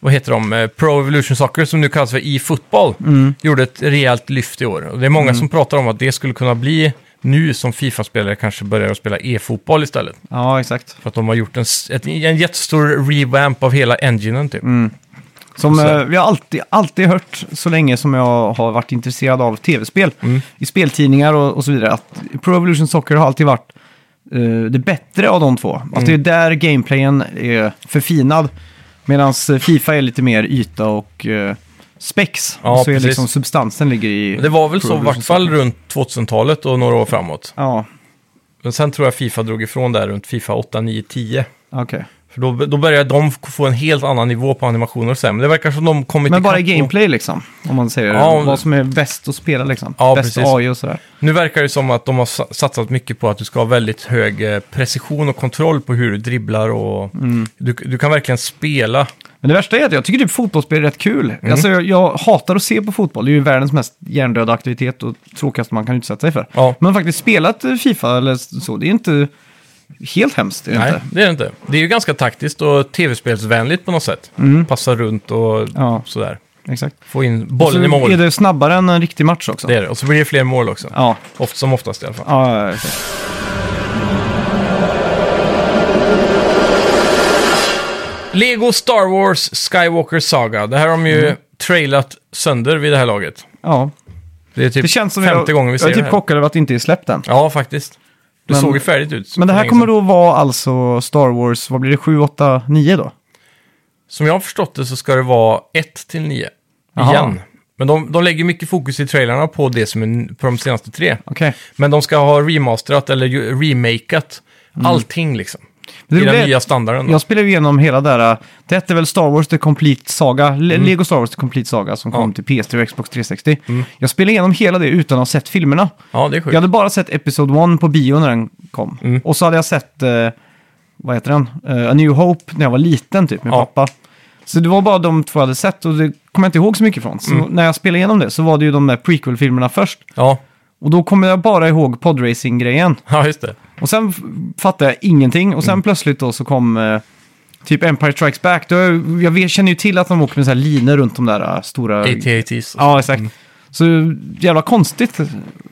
B: vad heter de, eh, Pro Evolution Soccer som nu kallas för e-fotboll, gjorde ett rejält lyft i år. Och det är många som pratar om att det skulle kunna bli nu som Fifa-spelare kanske börjar att spela e-fotboll istället.
A: Ja, exakt.
B: För att de har gjort en, s- ett, en jättestor revamp av hela enginen typ.
A: Mm. Som
B: Så.
A: eh, vi har alltid, alltid hört så länge som jag har varit intresserad av tv-spel,
B: Mm.
A: i speltidningar och, och så vidare, att Pro Evolution Soccer har alltid varit eh, det bättre av de två.
B: Mm.
A: Att det är där gameplayen är förfinad, medan Fifa är lite mer yta och eh, spex.
B: Ja,
A: och så
B: precis.
A: är liksom substansen ligger i...
B: Det var väl
A: Pro
B: så i
A: Evolution
B: vart fall runt 2000-talet och några år framåt.
A: Ja,
B: Men sen tror jag Fifa drog ifrån där runt Fifa 8, 9, 10.
A: okej.
B: För då, då börjar de f- få en helt annan nivå på animationer sen. Men det verkar som de kommit
A: Men bara i
B: ikapp och-
A: gameplay liksom. Om man säger
B: Ja, om-
A: vad som är bäst att spela liksom.
B: Ja,
A: bäst
B: precis.
A: AI och sådär.
B: Nu verkar det som att de har sa- satsat mycket på att du ska ha väldigt hög eh, precision och kontroll på hur du dribblar och
A: Mm.
B: du, du kan verkligen spela.
A: Men det värsta är att jag tycker typ fotbollsspel är rätt kul.
B: Mm.
A: Alltså, jag, jag hatar att se på fotboll. Det är ju världens mest hjärndöda aktivitet och tråkigaste man kan utsätta sig för.
B: Ja.
A: Men faktiskt spelat eh, Fifa eller så, det är inte helt hemskt. Är det
B: Nej,
A: inte.
B: det är det inte. Det är ju ganska taktiskt och tv-spelsvänligt på något sätt. Passa runt och
A: Mm. Ja.
B: sådär.
A: Exakt.
B: Få in
A: Och
B: bollen i
A: så
B: mål.
A: är det snabbare än en riktig match också.
B: Det är det. Och så blir det fler mål också.
A: Ja.
B: Oft, som oftast i alla fall.
A: Ja, ja, ja, exakt.
B: Lego Star Wars Skywalker Saga. Det här har de ju
A: Mm.
B: trailat sönder vid det här laget.
A: ja.
B: Det är typ
A: Det känns som
B: femte
A: jag,
B: gången vi ser
A: jag är
B: det
A: typ
B: här.
A: chockad över att det inte är släppt än.
B: Ja, faktiskt. Det
A: Men-
B: såg ju färdigt ut.
A: Men det
B: för
A: här
B: länge
A: kommer
B: sedan.
A: då vara alltså Star Wars, vad blir det, 7, 8, 9 då?
B: Som jag har förstått det så ska det vara 1 till 9.
A: Jaha.
B: Igen. Men de, de lägger mycket fokus i trailarna på det som är n- på de senaste tre.
A: Okej.
B: Men de ska ha remasterat eller ju- remakat allting liksom.
A: Mm. Det
B: I den
A: roliga är-
B: nya standarden. då.
A: Jag spelade ju igenom hela där. Det hette väl Star Wars The Complete Saga, Le- Lego Star Wars The Complete Saga som kom
B: Mm. Ja. Mm.
A: till PS3 och Xbox 360. Jag spelade igenom hela det utan att ha sett filmerna.
B: Ja, det är
A: Jag
B: sjukt.
A: hade bara sett Episode 1 på bio när den kom.
B: Mm.
A: Och så hade jag sett, eh, vad heter den? Eh, A New Hope när jag var liten typ med
B: Ja.
A: pappa. Så det var bara de två jag hade sett och det kommer jag inte ihåg så mycket från.
B: Mm.
A: Så när jag spelade igenom det så var det ju de där prequel-filmerna först.
B: Ja. <laughs>
A: Och då kommer jag bara ihåg podracing-grejen.
B: ja, just det.
A: Och sen f- fattade jag ingenting. Och sen
B: Mm.
A: plötsligt då så kom eh, typ Empire Strikes Back. Då, jag vet- känner ju till att de åker med så här linor runt de där eh, stora...
B: Ehm, AT-ATs.
A: Ja, exakt. Så jävla konstigt. eh,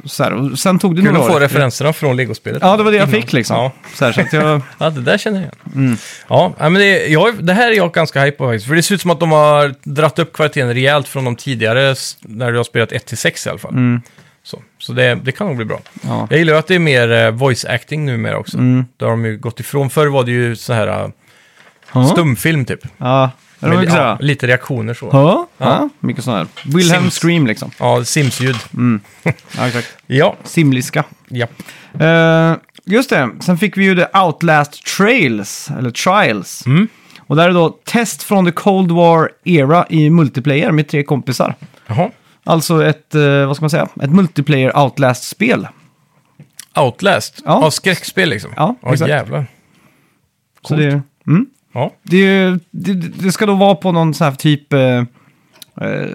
A: Så här. Och sen tog det
B: Kul
A: några
B: att få
A: år.
B: referenserna från Lego-spelet.
A: Ja, det var det jag fick liksom.
B: Ja.
A: Så, här, så att
B: <laughs>
A: jag...
B: Ja, det där känner jag igen. Ja, nej, men det, jag, är- det här är jag ganska hype på faktiskt. För det ser ut som att de har dratt upp kvaliteten rejält från de tidigare, s- när du har spelat 1-6 i alla fall. Så, så det, det kan nog bli bra.
A: Ja.
B: Jag gillar ju att det är mer eh, voice acting numera också. Mm. Där har de ju gått ifrån. Förr var det ju så här eh,
A: Ja.
B: stumfilm typ.
A: Ja, det var
B: Med,
A: mycket så
B: ja,
A: här.
B: lite reaktioner så. Ja,
A: Ja, ja, mycket sån här. Wilhelm
B: Sims.
A: Scream liksom.
B: Sims-ljud.
A: Ja, exakt.
B: Ja,
A: Simliska.
B: ja.
A: Eh, just det, sen fick vi ju The Outlast Trails, eller Trials. Och där är då test från The Cold War Era i multiplayer med tre kompisar.
B: Jaha.
A: Alltså ett, eh, vad ska man säga, ett multiplayer Outlast-spel.
B: Outlast.
A: Ja.
B: Ja. skräckspel liksom.
A: Ja, exakt.
B: jävlar.
A: Så det, mm,
B: Ja.
A: det, är ju- det, det ska då vara på någon sån här typ eh, eh,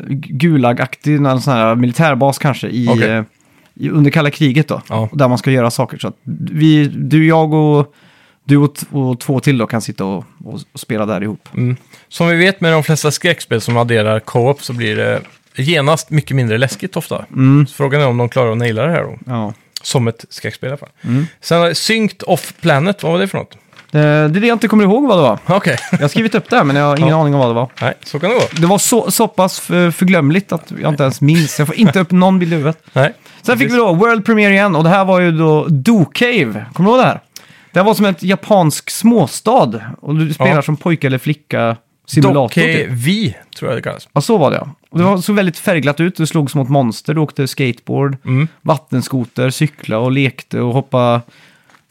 A: Gulag-aktig, någon sån här militärbas kanske, i,
B: Okej.
A: eh, i, under kalla kriget då.
B: Ja.
A: Där man ska göra saker. Så att vi, du, jag och du och, t- och två till då kan sitta och, och spela där ihop.
B: Mm. Som vi vet med de flesta skräckspel som adderar co-op så blir det genast mycket mindre läskigt ofta.
A: Mm.
B: Så frågan är om de klarar att naila det här då.
A: Ja. Eh,
B: Som ett skräckspel i alla fall.
A: Mm.
B: Sen har vi Synced Off Planet, vad var det för något?
A: Det, det är det jag inte kommer ihåg vad det var.
B: Okej,
A: Jag har skrivit upp det här men jag har ingen aning om vad det var.
B: <laughs> nej, så kan det gå.
A: Det var så, så pass för, förglömligt att jag inte ens minns. Jag får inte upp någon bild i huvudet.
B: Nej.
A: Sen fick vi då World Premiere igen och det här var ju då Do Cave. Kommer du ihåg det här? Det här var som ett japansk småstad och du spelar
B: Ja.
A: som pojke eller flicka simulator.
B: Dockey
A: typ.
B: eh, V, tror jag det kallas.
A: Ja, så var det ja. Och det var, såg väldigt färgglatt ut. Du slogs mot monster, du åkte skateboard,
B: Mm.
A: vattenskoter, cykla och lekte och hoppa,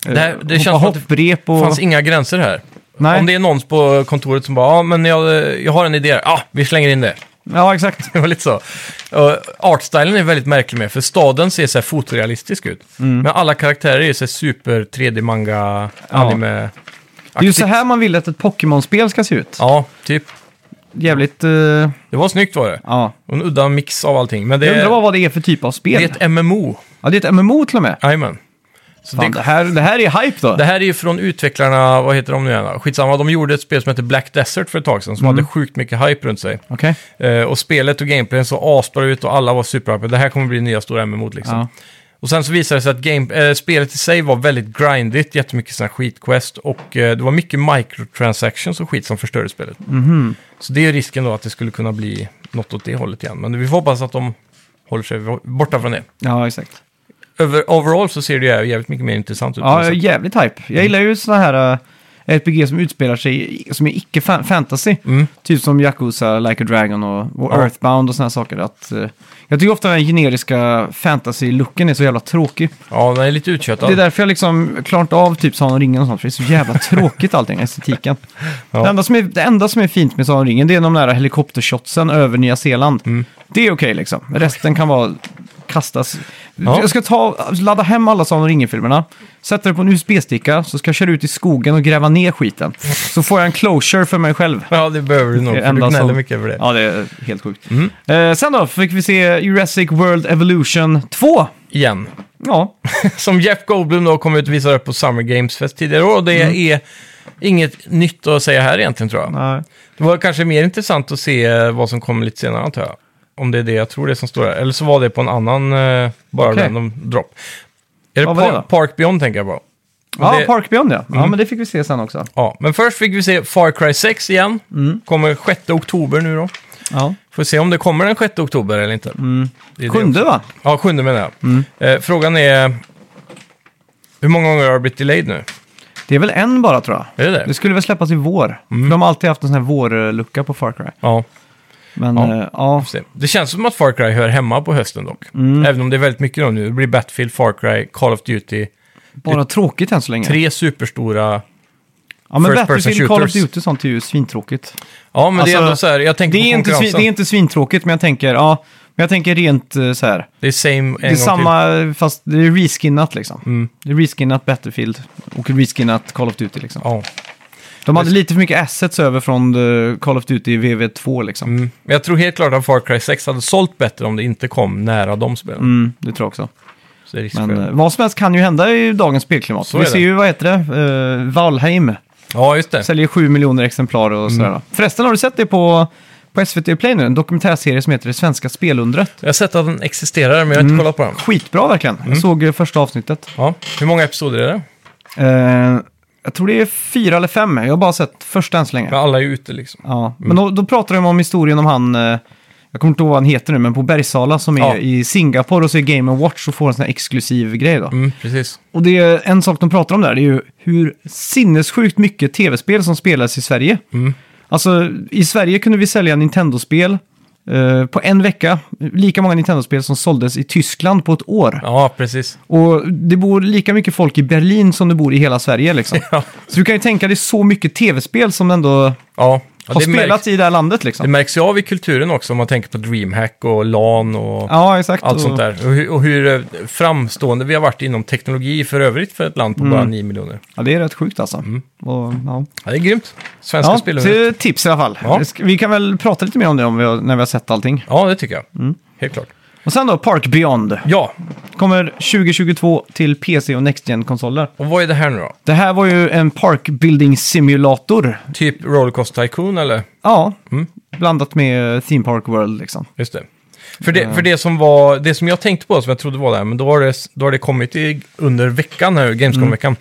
A: eh,
B: Det, här, det känns som att det
A: hopprep och...
B: fanns inga gränser här.
A: Nej.
B: Om det är någon på kontoret som bara, ja men jag, jag har en idé, ja vi slänger in det.
A: Ja, exakt.
B: Det var lite så. Och artstylen är väldigt märklig med, för staden ser så här fotorealistisk ut.
A: Mm.
B: Men alla karaktärer är så här super 3D-manga, anime
A: Det är ju så här man vill att ett Pokémon-spel ska se ut.
B: Ja, typ.
A: Jävligt... eh,
B: Det var snyggt var det.
A: ja.
B: Och En udda mix av allting. Men det,
A: Jag undrar vad det är för typ av
B: Eh, det
A: spel.
B: är ett MMO.
A: Ja, det är ett MMO till och med.
B: Jajamän. Så
A: Fan,
B: det,
A: det, här, det här är hype då.
B: det här är ju från utvecklarna, vad heter de nu igen? Skitsamma, de gjorde ett spel som heter Black Desert för ett tag sedan, som
A: Mm.
B: hade sjukt mycket hype runt sig.
A: Okej.
B: Eh, och spelet och gameplayen såg asbra ut och alla var superhype. Det här kommer bli nya stora MMO liksom.
A: Ja.
B: Och sen så visade det sig att game, eh, spelet i sig var väldigt grindigt, jättemycket sådana skitquest och eh, det var mycket microtransactions och skit som förstörde spelet.
A: Mhm.
B: Så det är risken då att det skulle kunna bli något åt det hållet igen. Men vi får hoppas att de håller sig borta från det.
A: Ja, exakt.
B: Över, overall så Mm. ser det ju jävligt mycket mer intressant ut. på
A: Ja,
B: något
A: jag är
B: sätt.
A: jävligt hype. Jag gillar ju såna här... eh, RPG som utspelar sig, i- som är icke-fantasy. Typ som Yakuza, Like a Dragon och, och
B: Mm. Ja.
A: Earthbound och sådana saker. Att, eh, jag tycker ofta den generiska fantasy-looken är så jävla tråkig.
B: Ja, den är lite uttjötad.
A: Det är därför jag liksom klarat av typ Sagan om ringen och sånt, för det är så
B: <laughs>
A: jävla tråkigt allting, estetiken.
B: Ja.
A: Det, enda som är, det enda som är fint med Sagan om ringen, det är de där helikoptershotsen över Nya Zeeland.
B: Mm.
A: Det är okej liksom. Resten kan vara kastas.
B: Ja.
A: Jag ska ta, ladda hem alla Sagan om ringen-filmerna, sätta det på en USB-sticka, så ska jag köra ut i skogen och gräva ner skiten. Så får jag en closure för mig själv.
B: Ja, det behöver du nog.
A: Det är
B: För du
A: enda
B: gnäller
A: som-
B: mycket över det. Mm.
A: Ja, det är helt sjukt. Eh, sen då fick vi se Jurassic World Evolution 2.
B: Igen. <laughs>
A: Ja,
B: Som Jeff Goldblum då kom ut och visade upp på Summer Games Fest tidigare år, Och det
A: Mm.
B: är inget nytt att säga här egentligen tror jag.
A: nej.
B: Det var kanske mer intressant att se eh, vad som kommer lite senare antar jag. Om det är det jag tror det är som står där. Eller så var det på en annan, eh, bara
A: Okej.
B: random drop. Är det,
A: Vad var
B: pa-
A: det då?
B: Park Beyond tänker jag på. Men
A: Ja,
B: det- Mm.
A: Park Beyond ja. Ja, men det fick vi se sen också.
B: Ja, men först fick vi se Far Cry 6 igen.
A: Mm.
B: Kommer 6 oktober nu då.
A: Ja.
B: Får se om det kommer den 6 oktober eller inte.
A: Mm.
B: Det är det
A: Kunde va?
B: Ja, sjunde menar jag.
A: Mm.
B: Eh, frågan är... Hur många gånger har det blivit delayed nu?
A: Det är väl en bara tror jag.
B: Är det det?
A: Det skulle väl släppas i vår.
B: Mm.
A: De har alltid haft en sån här vårlucka på Far Cry.
B: Ja,
A: Men
B: Ja.
A: ja, ja.
B: får se. det känns som att Far Cry hör hemma på hösten dock.
A: Mm.
B: Även om det är väldigt mycket då nu. Det blir Battlefield, Far Cry, Call of Duty.
A: bara tråkigt än så länge.
B: Tre superstora...
A: ja, men
B: first
A: Battlefield,
B: person
A: Call of
B: shooters.
A: Duty och sånt är ju svintråkigt.
B: Ja, men det
A: Alltså,
B: är ändå så här, jag tänker
A: Det är,
B: på
A: inte, svin-
B: konkurrensen.
A: det är inte svintråkigt, men jag tänker, ja, men jag tänker rent eh, så här.
B: det är same en
A: det är
B: gång till. Mm.
A: samma, fast det är reskinnat liksom. Det är reskinnat Battlefield och reskinnat Call of Duty liksom.
B: Ja.
A: De hade lite för mycket assets över från eh, Call of Duty VV2 liksom.
B: Mm. Men Jag tror helt klart att Far Cry 6 hade sålt bättre om det inte kom nära de spelen.
A: Mm, det tror jag också.
B: Så det är risk
A: Men
B: för det.
A: eh, vad som helst kan ju hända i dagens spelklimat.
B: Så
A: vi
B: är det.
A: ser ju, vad heter det, uh, Valheim.
B: Ja, Mm. just det.
A: Säljer 7 miljoner exemplar och sådär. Förresten, har du sett det på, på SVT Play nu? En dokumentärserie som heter Det svenska spelundret.
B: Jag har sett att den existerar, men jag har
A: Mm.
B: inte kollat på den.
A: Skitbra verkligen.
B: Mm.
A: Jag såg eh, första avsnittet.
B: Ja. Hur många episoder är det?
A: Eh, jag tror det är fyra eller fem. eh, Jag har bara sett första än så länge.
B: För alla är ju ute liksom.
A: Ja. Men då, då pratar de om historien om han, eh, jag kommer inte ihåg vad han heter nu, men på Bergsala som är
B: Ja.
A: i Singapore och så är Game Watch och får en sån här exklusiv grej då.
B: Mm, precis.
A: Och det är en sak de pratar om där, det är ju hur sinnessjukt mycket tv-spel som spelas i Sverige.
B: Mm.
A: Alltså, i Sverige kunde vi sälja Nintendo-spel eh, på en vecka, lika många Nintendo-spel som såldes i Tyskland på ett år.
B: Ja, precis.
A: Och det bor lika mycket folk i Berlin som det bor i hela Sverige liksom.
B: <laughs> Ja,
A: Så du kan ju tänka dig så mycket tv-spel som ändå
B: ja.
A: har
B: det,
A: spelats
B: märks,
A: i det här landet
B: det
A: liksom.
B: märks ju av i kulturen också om man tänker på DreamHack och LAN och
A: Ja, exakt.
B: allt sånt
A: Och-
B: där. Och hur, och hur eh, framstående vi har varit inom teknologi för övrigt för ett
A: Mm.
B: land på bara 9 miljoner.
A: Ja, det är rätt sjukt alltså.
B: Mm.
A: Och, ja.
B: Ja, det är grymt. Svenska
A: Ja,
B: spelare.
A: så det är tips i alla fall.
B: Ja.
A: Vi kan väl prata lite mer om det om vi har, när vi har sett allting.
B: Ja, det tycker jag.
A: Mm.
B: Helt klart.
A: Och sen då Park Beyond.
B: Ja,
A: Kommer 2022 till PC och Next gen konsoler
B: och vad är det här nu då?
A: Det här var ju en Park Building Simulator.
B: Typ Rollercoaster Tycoon eller?
A: Ja,
B: Mm.
A: blandat med eh, Theme Park World liksom.
B: Just det. För, det, för det, som var, det som jag tänkte på, som jag trodde var det här, men då har det, då har det kommit i, under veckan här,
A: Mm.
B: Gamescom-veckan.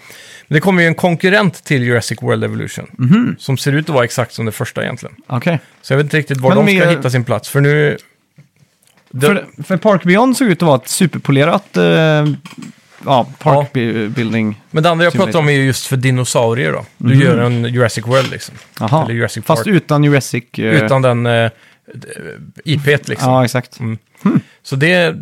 B: Men det kommer ju en konkurrent till Jurassic World Evolution,
A: Mhm.
B: som ser ut att vara exakt som det första egentligen.
A: Okej.
B: Så jag vet inte riktigt var
A: Men
B: de ska
A: mer-
B: hitta sin plats, för nu... Det,
A: För, för Park Beyond såg ut att vara ett superpolerat eh, ja, Park
B: Ja.
A: bu- Building.
B: men det andra jag
A: Simulator.
B: pratar om är ju just för dinosaurier då.
A: Mhm.
B: Du gör en Jurassic World liksom.
A: Aha.
B: Eller Jurassic
A: Fast
B: Park.
A: utan Jurassic. eh,
B: Utan den eh, IP't liksom.
A: Ja, exakt.
B: Så det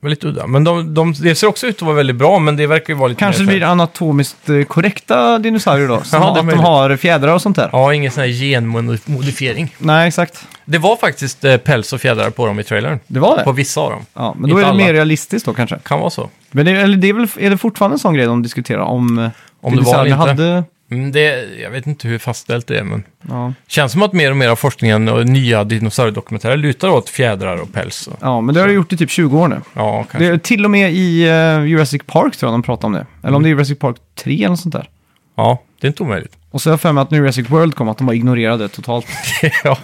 B: var lite udda. Men de, de, det ser också ut att vara väldigt bra, men det verkar ju vara lite
A: Kanske
B: mer
A: det
B: så här-
A: blir anatomiskt eh, korrekta dinosaurier då. Som
B: Ja, det är
A: att de
B: möjligt.
A: har fjädrar och sånt där.
B: Ja, ingen sån här genmodifiering.
A: Nej, exakt.
B: Det var faktiskt eh, päls och fjädrar på dem i trailern.
A: Det var
B: På
A: det.
B: vissa av dem.
A: Ja, men då är
B: Inte
A: det
B: alla.
A: mer realistiskt då kanske.
B: Kan vara så.
A: Men det, eller det är, väl, är det fortfarande en sån grej de diskuterar? Om, eh,
B: Om det var
A: dinosaurier
B: eller inte.
A: hade...
B: Mm, det, jag vet inte hur fastställt det är, men...
A: Ja.
B: Känns som att mer och mer av forskningen och nya dinosauriedokumentärer lutar åt fjädrar och päls. Och,
A: ja, men det har det gjort i typ 20 år nu.
B: ja, kanske.
A: Det, är till och med i eh, Jurassic Park tror jag de pratar om det. Eller
B: Mm.
A: om det är Jurassic Park 3 eller något sånt där.
B: Ja, det är inte omöjligt. <laughs>
A: Och så har jag för mig att när Jurassic World kom att de bara ignorerade det totalt.
B: ja.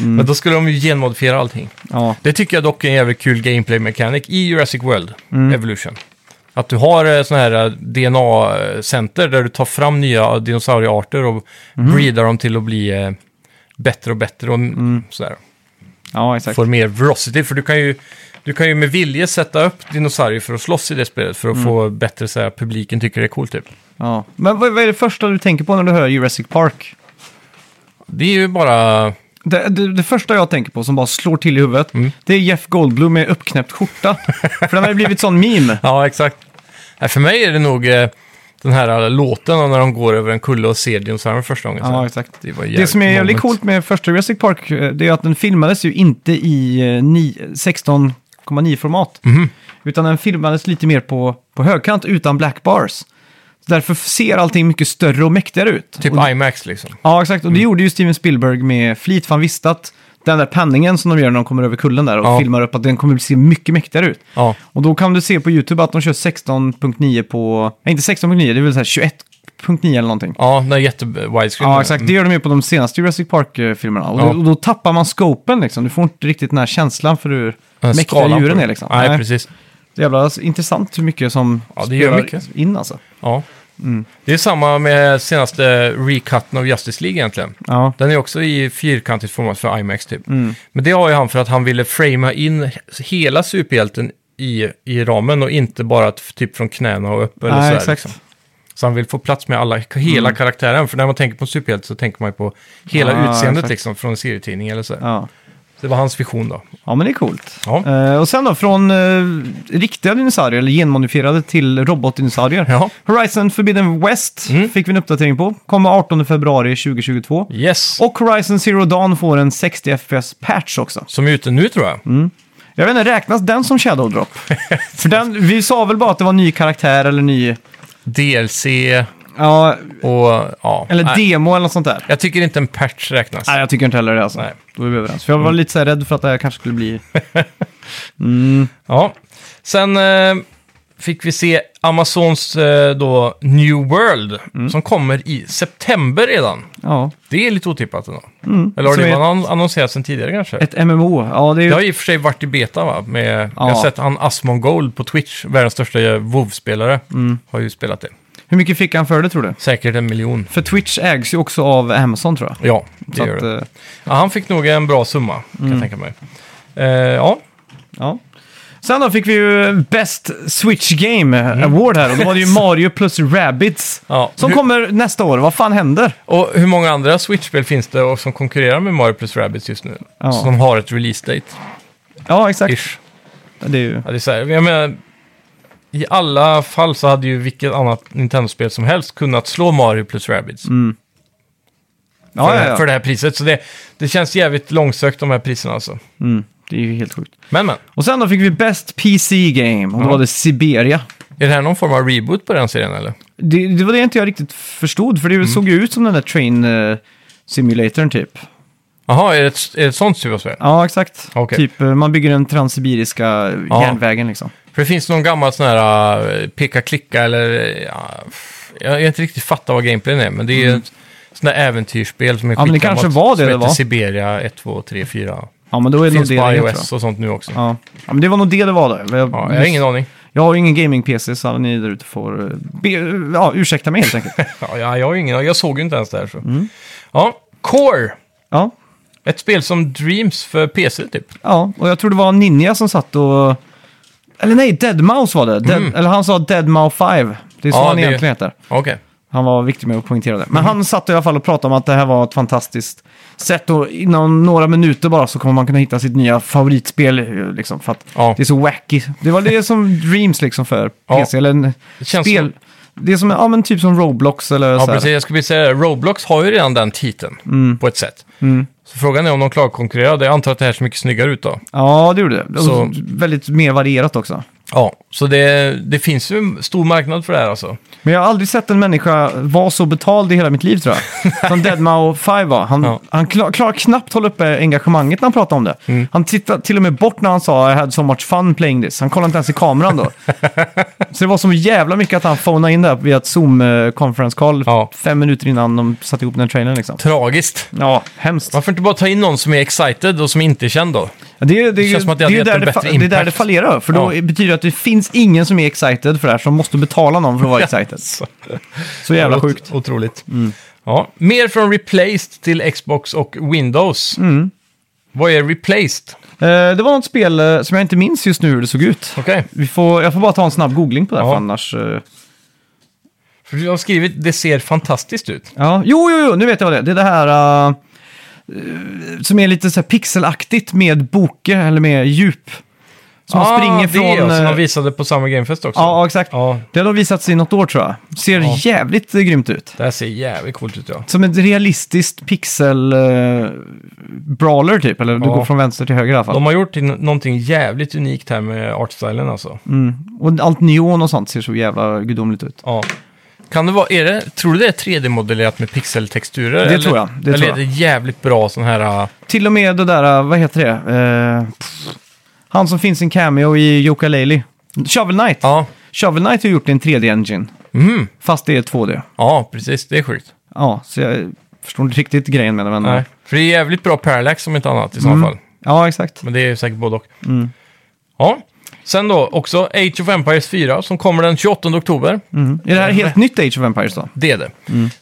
A: Mm.
B: Men då skulle de ju genmodifiera allting.
A: Ja,
B: Det tycker jag dock är en jävligt kul gameplay mechanic i Jurassic World Evolution. Att du har sådana här eh, DNA-center där du tar fram nya dinosauriearter och breedar dem till att bli eh, bättre och bättre och sådär.
A: ja exakt.
B: Får mer velocity, för du kan ju Du kan ju med vilje sätta upp dinosaurier för att slåss i det spelet för att få bättre så här, publiken tycker det är coolt typ.
A: Ja. Men vad, vad är det första du tänker på när du hör Jurassic Park?
B: Det är ju bara...
A: Det, det, det första jag tänker på som bara slår till i huvudet,
B: Mm.
A: det är Jeff Goldblum med uppknäppt
B: <laughs>
A: skjorta. För den har ju blivit sån meme.
B: Ja, exakt. Nej, för mig är det nog eh, den här eh, låten om när de går över en kulle och ser dinosaurierna första gången. så här.
A: Ja, exakt.
B: det, var
A: Det som är jävligt
B: moment.
A: coolt med första Jurassic Park eh, det är att den filmades ju inte i eh, ni- 16,9-format.
B: Mhm.
A: Utan den filmades lite mer på, på högkant utan black bars. Så Därför ser allting mycket större och mäktigare ut.
B: Typ
A: och,
B: IMAX liksom.
A: ja, exakt. Och det gjorde ju Steven Spielberg med flit. För han visste att den där panningen som de gör när de kommer över kullen där och
B: Ja.
A: filmar upp, att den kommer se mycket mäktigare ut.
B: Ja,
A: Och då kan du se på YouTube att de kör 16.9 på... Nej, inte 16.9, det är väl så här 21.9 eller någonting.
B: ja den är jätte widescreen.
A: Ja, exakt. Det gör de ju på de senaste Jurassic Park-filmerna. Och,
B: Mm. Ja.
A: då- och då tappar man scopen liksom. Du får inte riktigt den här känslan för hur
B: Den
A: mäktiga
B: skalan på
A: djuren
B: det.
A: är liksom.
B: Nej,
A: Nej.
B: precis.
A: Det är jävla intressant hur mycket som
B: Ja, det gör
A: spelar
B: mycket.
A: in alltså.
B: Ja.
A: Mm.
B: Det är samma med senaste recutten av Justice League egentligen.
A: Ja,
B: Den är också i fyrkantigt format för IMAX typ.
A: Mm.
B: Men det har ju han för att han ville framea in hela superhjälten i, i ramen och inte bara att typ från knäna och upp eller
A: Nej,
B: sådär.
A: exakt.
B: Liksom. Så han vill få plats med alla, hela
A: Mm.
B: karaktären. För när man tänker på en superhjälte så tänker man ju på hela
A: Ah,
B: utseendet
A: exakt.
B: liksom från en serietidning eller så.
A: ja.
B: Det var hans vision då.
A: ja men det är coolt.
B: Ja.
A: Eh, och sen då, från eh, riktiga dinosaurier, eller genmodifierade, till robotdinosaurier.
B: Ja. Mm.
A: Horizon Forbidden West fick vi en uppdatering på. Kommer 18 februari 2022.
B: Yes.
A: Och Horizon Zero Dawn får en 60 FPS-patch också.
B: Som är ute nu tror jag.
A: Mm. Jag vet inte, räknas den som Shadow
B: <laughs>
A: Drop? För den, vi sa väl bara att det var ny karaktär eller ny...
B: DLC
A: Ja,
B: och ja.
A: eller
B: Nej,
A: demo eller något sånt där.
B: Jag tycker inte en patch räknas.
A: Nej, jag tycker inte heller det alltså.
B: Nej. Mm.
A: Då är vi överens. För jag var lite så här rädd för att det här kanske skulle bli...
B: Ja. Sen eh, fick vi se Amazons eh, då New World
A: Mm.
B: som kommer i september redan.
A: Ja,
B: Det är lite otippat ändå. Eller har
A: Mm. Som
B: det
A: är-
B: varit annonserat sen tidigare kanske?
A: ett MMO. Ja, det är
B: Det har
A: ju...
B: i och för sig varit i beta va? Med, Jag
A: Ja.
B: har sett han Asmon Gold på Twitch, världens största eh, WoW-spelare,
A: Mm.
B: har ju spelat det.
A: Hur mycket fick han för det tror du?
B: Säkert en miljon.
A: För Twitch ägs ju också av Amazon tror jag.
B: Ja, det
A: Så
B: gör
A: att,
B: det.
A: eh, Mm.
B: Ja, han fick nog en bra summa, kan jag tänka mig. Eh, ja,
A: ja. Sen då fick vi ju Best Switch Game Award här. Och då var det
B: <laughs>
A: ju Mario plus Rabbids.
B: Mm. Ja.
A: Som
B: Hur-
A: kommer nästa år. Vad fan händer?
B: och hur många andra Switch-spel finns det och som konkurrerar med Mario plus Rabbids just nu?
A: Ja.
B: Som har ett release-date,
A: Ja, exakt.
B: ish.
A: Det är ju...
B: Ja, det är så här, jag menar, I alla fall så hade ju vilket annat Nintendo-spel som helst kunnat slå Mario plus Rabbids
A: Ja,
B: för,
A: Mm. ja,
B: det här-
A: ja.
B: för det här priset. Så det, det känns jävligt långsökt de här priserna alltså.
A: Mm, det är ju helt sjukt.
B: Men men,
A: Och sen då fick vi Best PC Game och då var det Siberia.
B: är det här någon form av reboot på den serien eller?
A: Det, det var det inte jag riktigt förstod, för det
B: Mm.
A: såg ju ut som den där Train eh, Simulatorn typ.
B: Jaha, är det ett, är det ett sånt typ av spel?
A: Ja, exakt.
B: Okej.
A: Typ eh, man bygger den transsibiriska
B: Ja.
A: järnvägen liksom.
B: För det finns någon gammal sån här eh, peka-klicka eller... eh, ja, f- jag har inte riktigt fattat vad gameplayen är, men det är ett sånt där äventyrsspel som är
A: Mm. Ja, men det
B: skitgammalt,
A: kanske var det
B: som
A: det
B: heter
A: var.
B: Siberia 1, 2, 3, 4.
A: Ja, men då är
B: Det
A: det nog
B: finns
A: det.
B: på
A: det tror jag.
B: iOS och sånt nu också. Ja.
A: Ja. ja, men det var nog det det var då. Jag,
B: jag har ingen aning.
A: jag har ju ingen gaming-PC, så alla ni där ute får eh, be, ja, ursäkta mig helt
B: <laughs>
A: enkelt.
B: Ja, jag, jag har ingen aning. Jag såg ju inte ens det här. Så.
A: Mm.
B: Ja, Core.
A: ja.
B: Ett spel som Dreams för PC typ.
A: ja, och jag tror det var Ninja som satt och... Eller nej, Deadmau5 var det. Dead, Eller han sa Deadmau5. Det är så
B: Mm. Ja,
A: han
B: det-
A: egentligen heter.
B: Okej.
A: Han var viktig med att poängtera det. Men han satt i alla fall och pratade om att det här var ett fantastiskt sätt och inom några minuter bara så kommer man kunna hitta sitt nya favoritspel. eh, Liksom, för att
B: Ja.
A: det är så wacky. Det var det som Dreams liksom för
B: Ja.
A: PC. Eller en
B: Det känns
A: spel. Det är som, ja men typ som Roblox eller
B: Ja,
A: så här. Mm.
B: precis. Jag skulle vilja säga det. Roblox har ju redan den titeln på ett sätt. Så frågan är om de klarar att konkurrera. Jag antar att det här ser mycket snyggare ut då.
A: Ja, det gjorde det.
B: Så-
A: Och väldigt mer varierat också.
B: Ja, så det, det finns ju en stor marknad för det här alltså.
A: Men jag har aldrig sett en människa vara så betald i hela mitt liv tror
B: <laughs>
A: jag. Som Deadmau 5 var. Han,
B: Ja.
A: han klar, klarar knappt hålla uppe engagemanget när han pratade om det.
B: Mm.
A: Han tittade till och med bort när han sa I had so much fun playing this. Han kollade inte ens i kameran
B: <laughs>
A: då. så det var så jävla mycket att han phonade in där via ett Zoom-conference call
B: Ja.
A: fem minuter innan de satte ihop den här trailern liksom.
B: Tragiskt.
A: Ja, hemskt.
B: Varför inte bara ta in någon som är excited och som inte är känd då?
A: Ja, Det, det, det,
B: känns som att det
A: är
B: hade
A: ju
B: gett
A: där
B: en
A: det, fa-
B: bättre
A: det är där
B: impact.
A: det fallerar. För då
B: Ja.
A: betyder det att det finns ingen som är excited för det här som måste betala någon
B: <laughs>
A: för att vara excited. Så jävla
B: Ot-
A: sjukt. Mm. Mm.
B: Otroligt. Ja, mer från Replaced till Xbox och Windows. Vad är replaced?
A: Eh, det var något spel eh, som jag inte minns just nu hur det såg ut.
B: Okej.
A: Vi får, jag får bara ta en snabb googling på det, här,
B: Ja.
A: för annars... eh,
B: För du har skrivit det ser fantastiskt ut.
A: Ja, jo, jo, jo, nu vet jag vad det är. Det är det här eh, som är lite så här pixelaktigt med boke eller med djup. Som man springer
B: Ah, det är
A: från...
B: jag, som
A: eh,
B: de visade på samma Gamefest också.
A: ja, ja, exakt.
B: ja.
A: Det har då visats i något år tror jag. Ser
B: Ja.
A: jävligt eh, grymt ut.
B: Det här ser jävligt coolt ut ja.
A: Som ett realistiskt pixel-brawler typ, eller du
B: Ja.
A: går från vänster till höger i alla fall.
B: De har gjort in- någonting jävligt unikt här med artstylen alltså.
A: Mm. Och allt neon och sånt ser så jävla gudomligt ut.
B: Ja. Kan det vara, är det, tror du det är 3D-modellerat med pixeltexturer?
A: Det tror jag, det
B: eller
A: tror
B: är det jävligt bra sån här... äh,
A: Till och med det där, eh, vad heter det? Eh, pff, han som finns i en cameo i Joka Laley. Shovel Knight.
B: Ja,
A: Shovel Knight har gjort en 3D-engine,
B: mm.
A: fast det är 2D.
B: ja, precis. Det är sjukt.
A: Ja, så jag förstår inte riktigt grejen med det, men... eh,
B: Nej. För det är jävligt bra parallax om inte annat i så
A: Mm.
B: fall.
A: Ja, exakt.
B: Men det är ju säkert både och.
A: Mm.
B: Ja. Sen då också Age of Empires 4 som kommer den 28 oktober.
A: Mm. Är det här helt nytt Age of Empires då?
B: Det är det.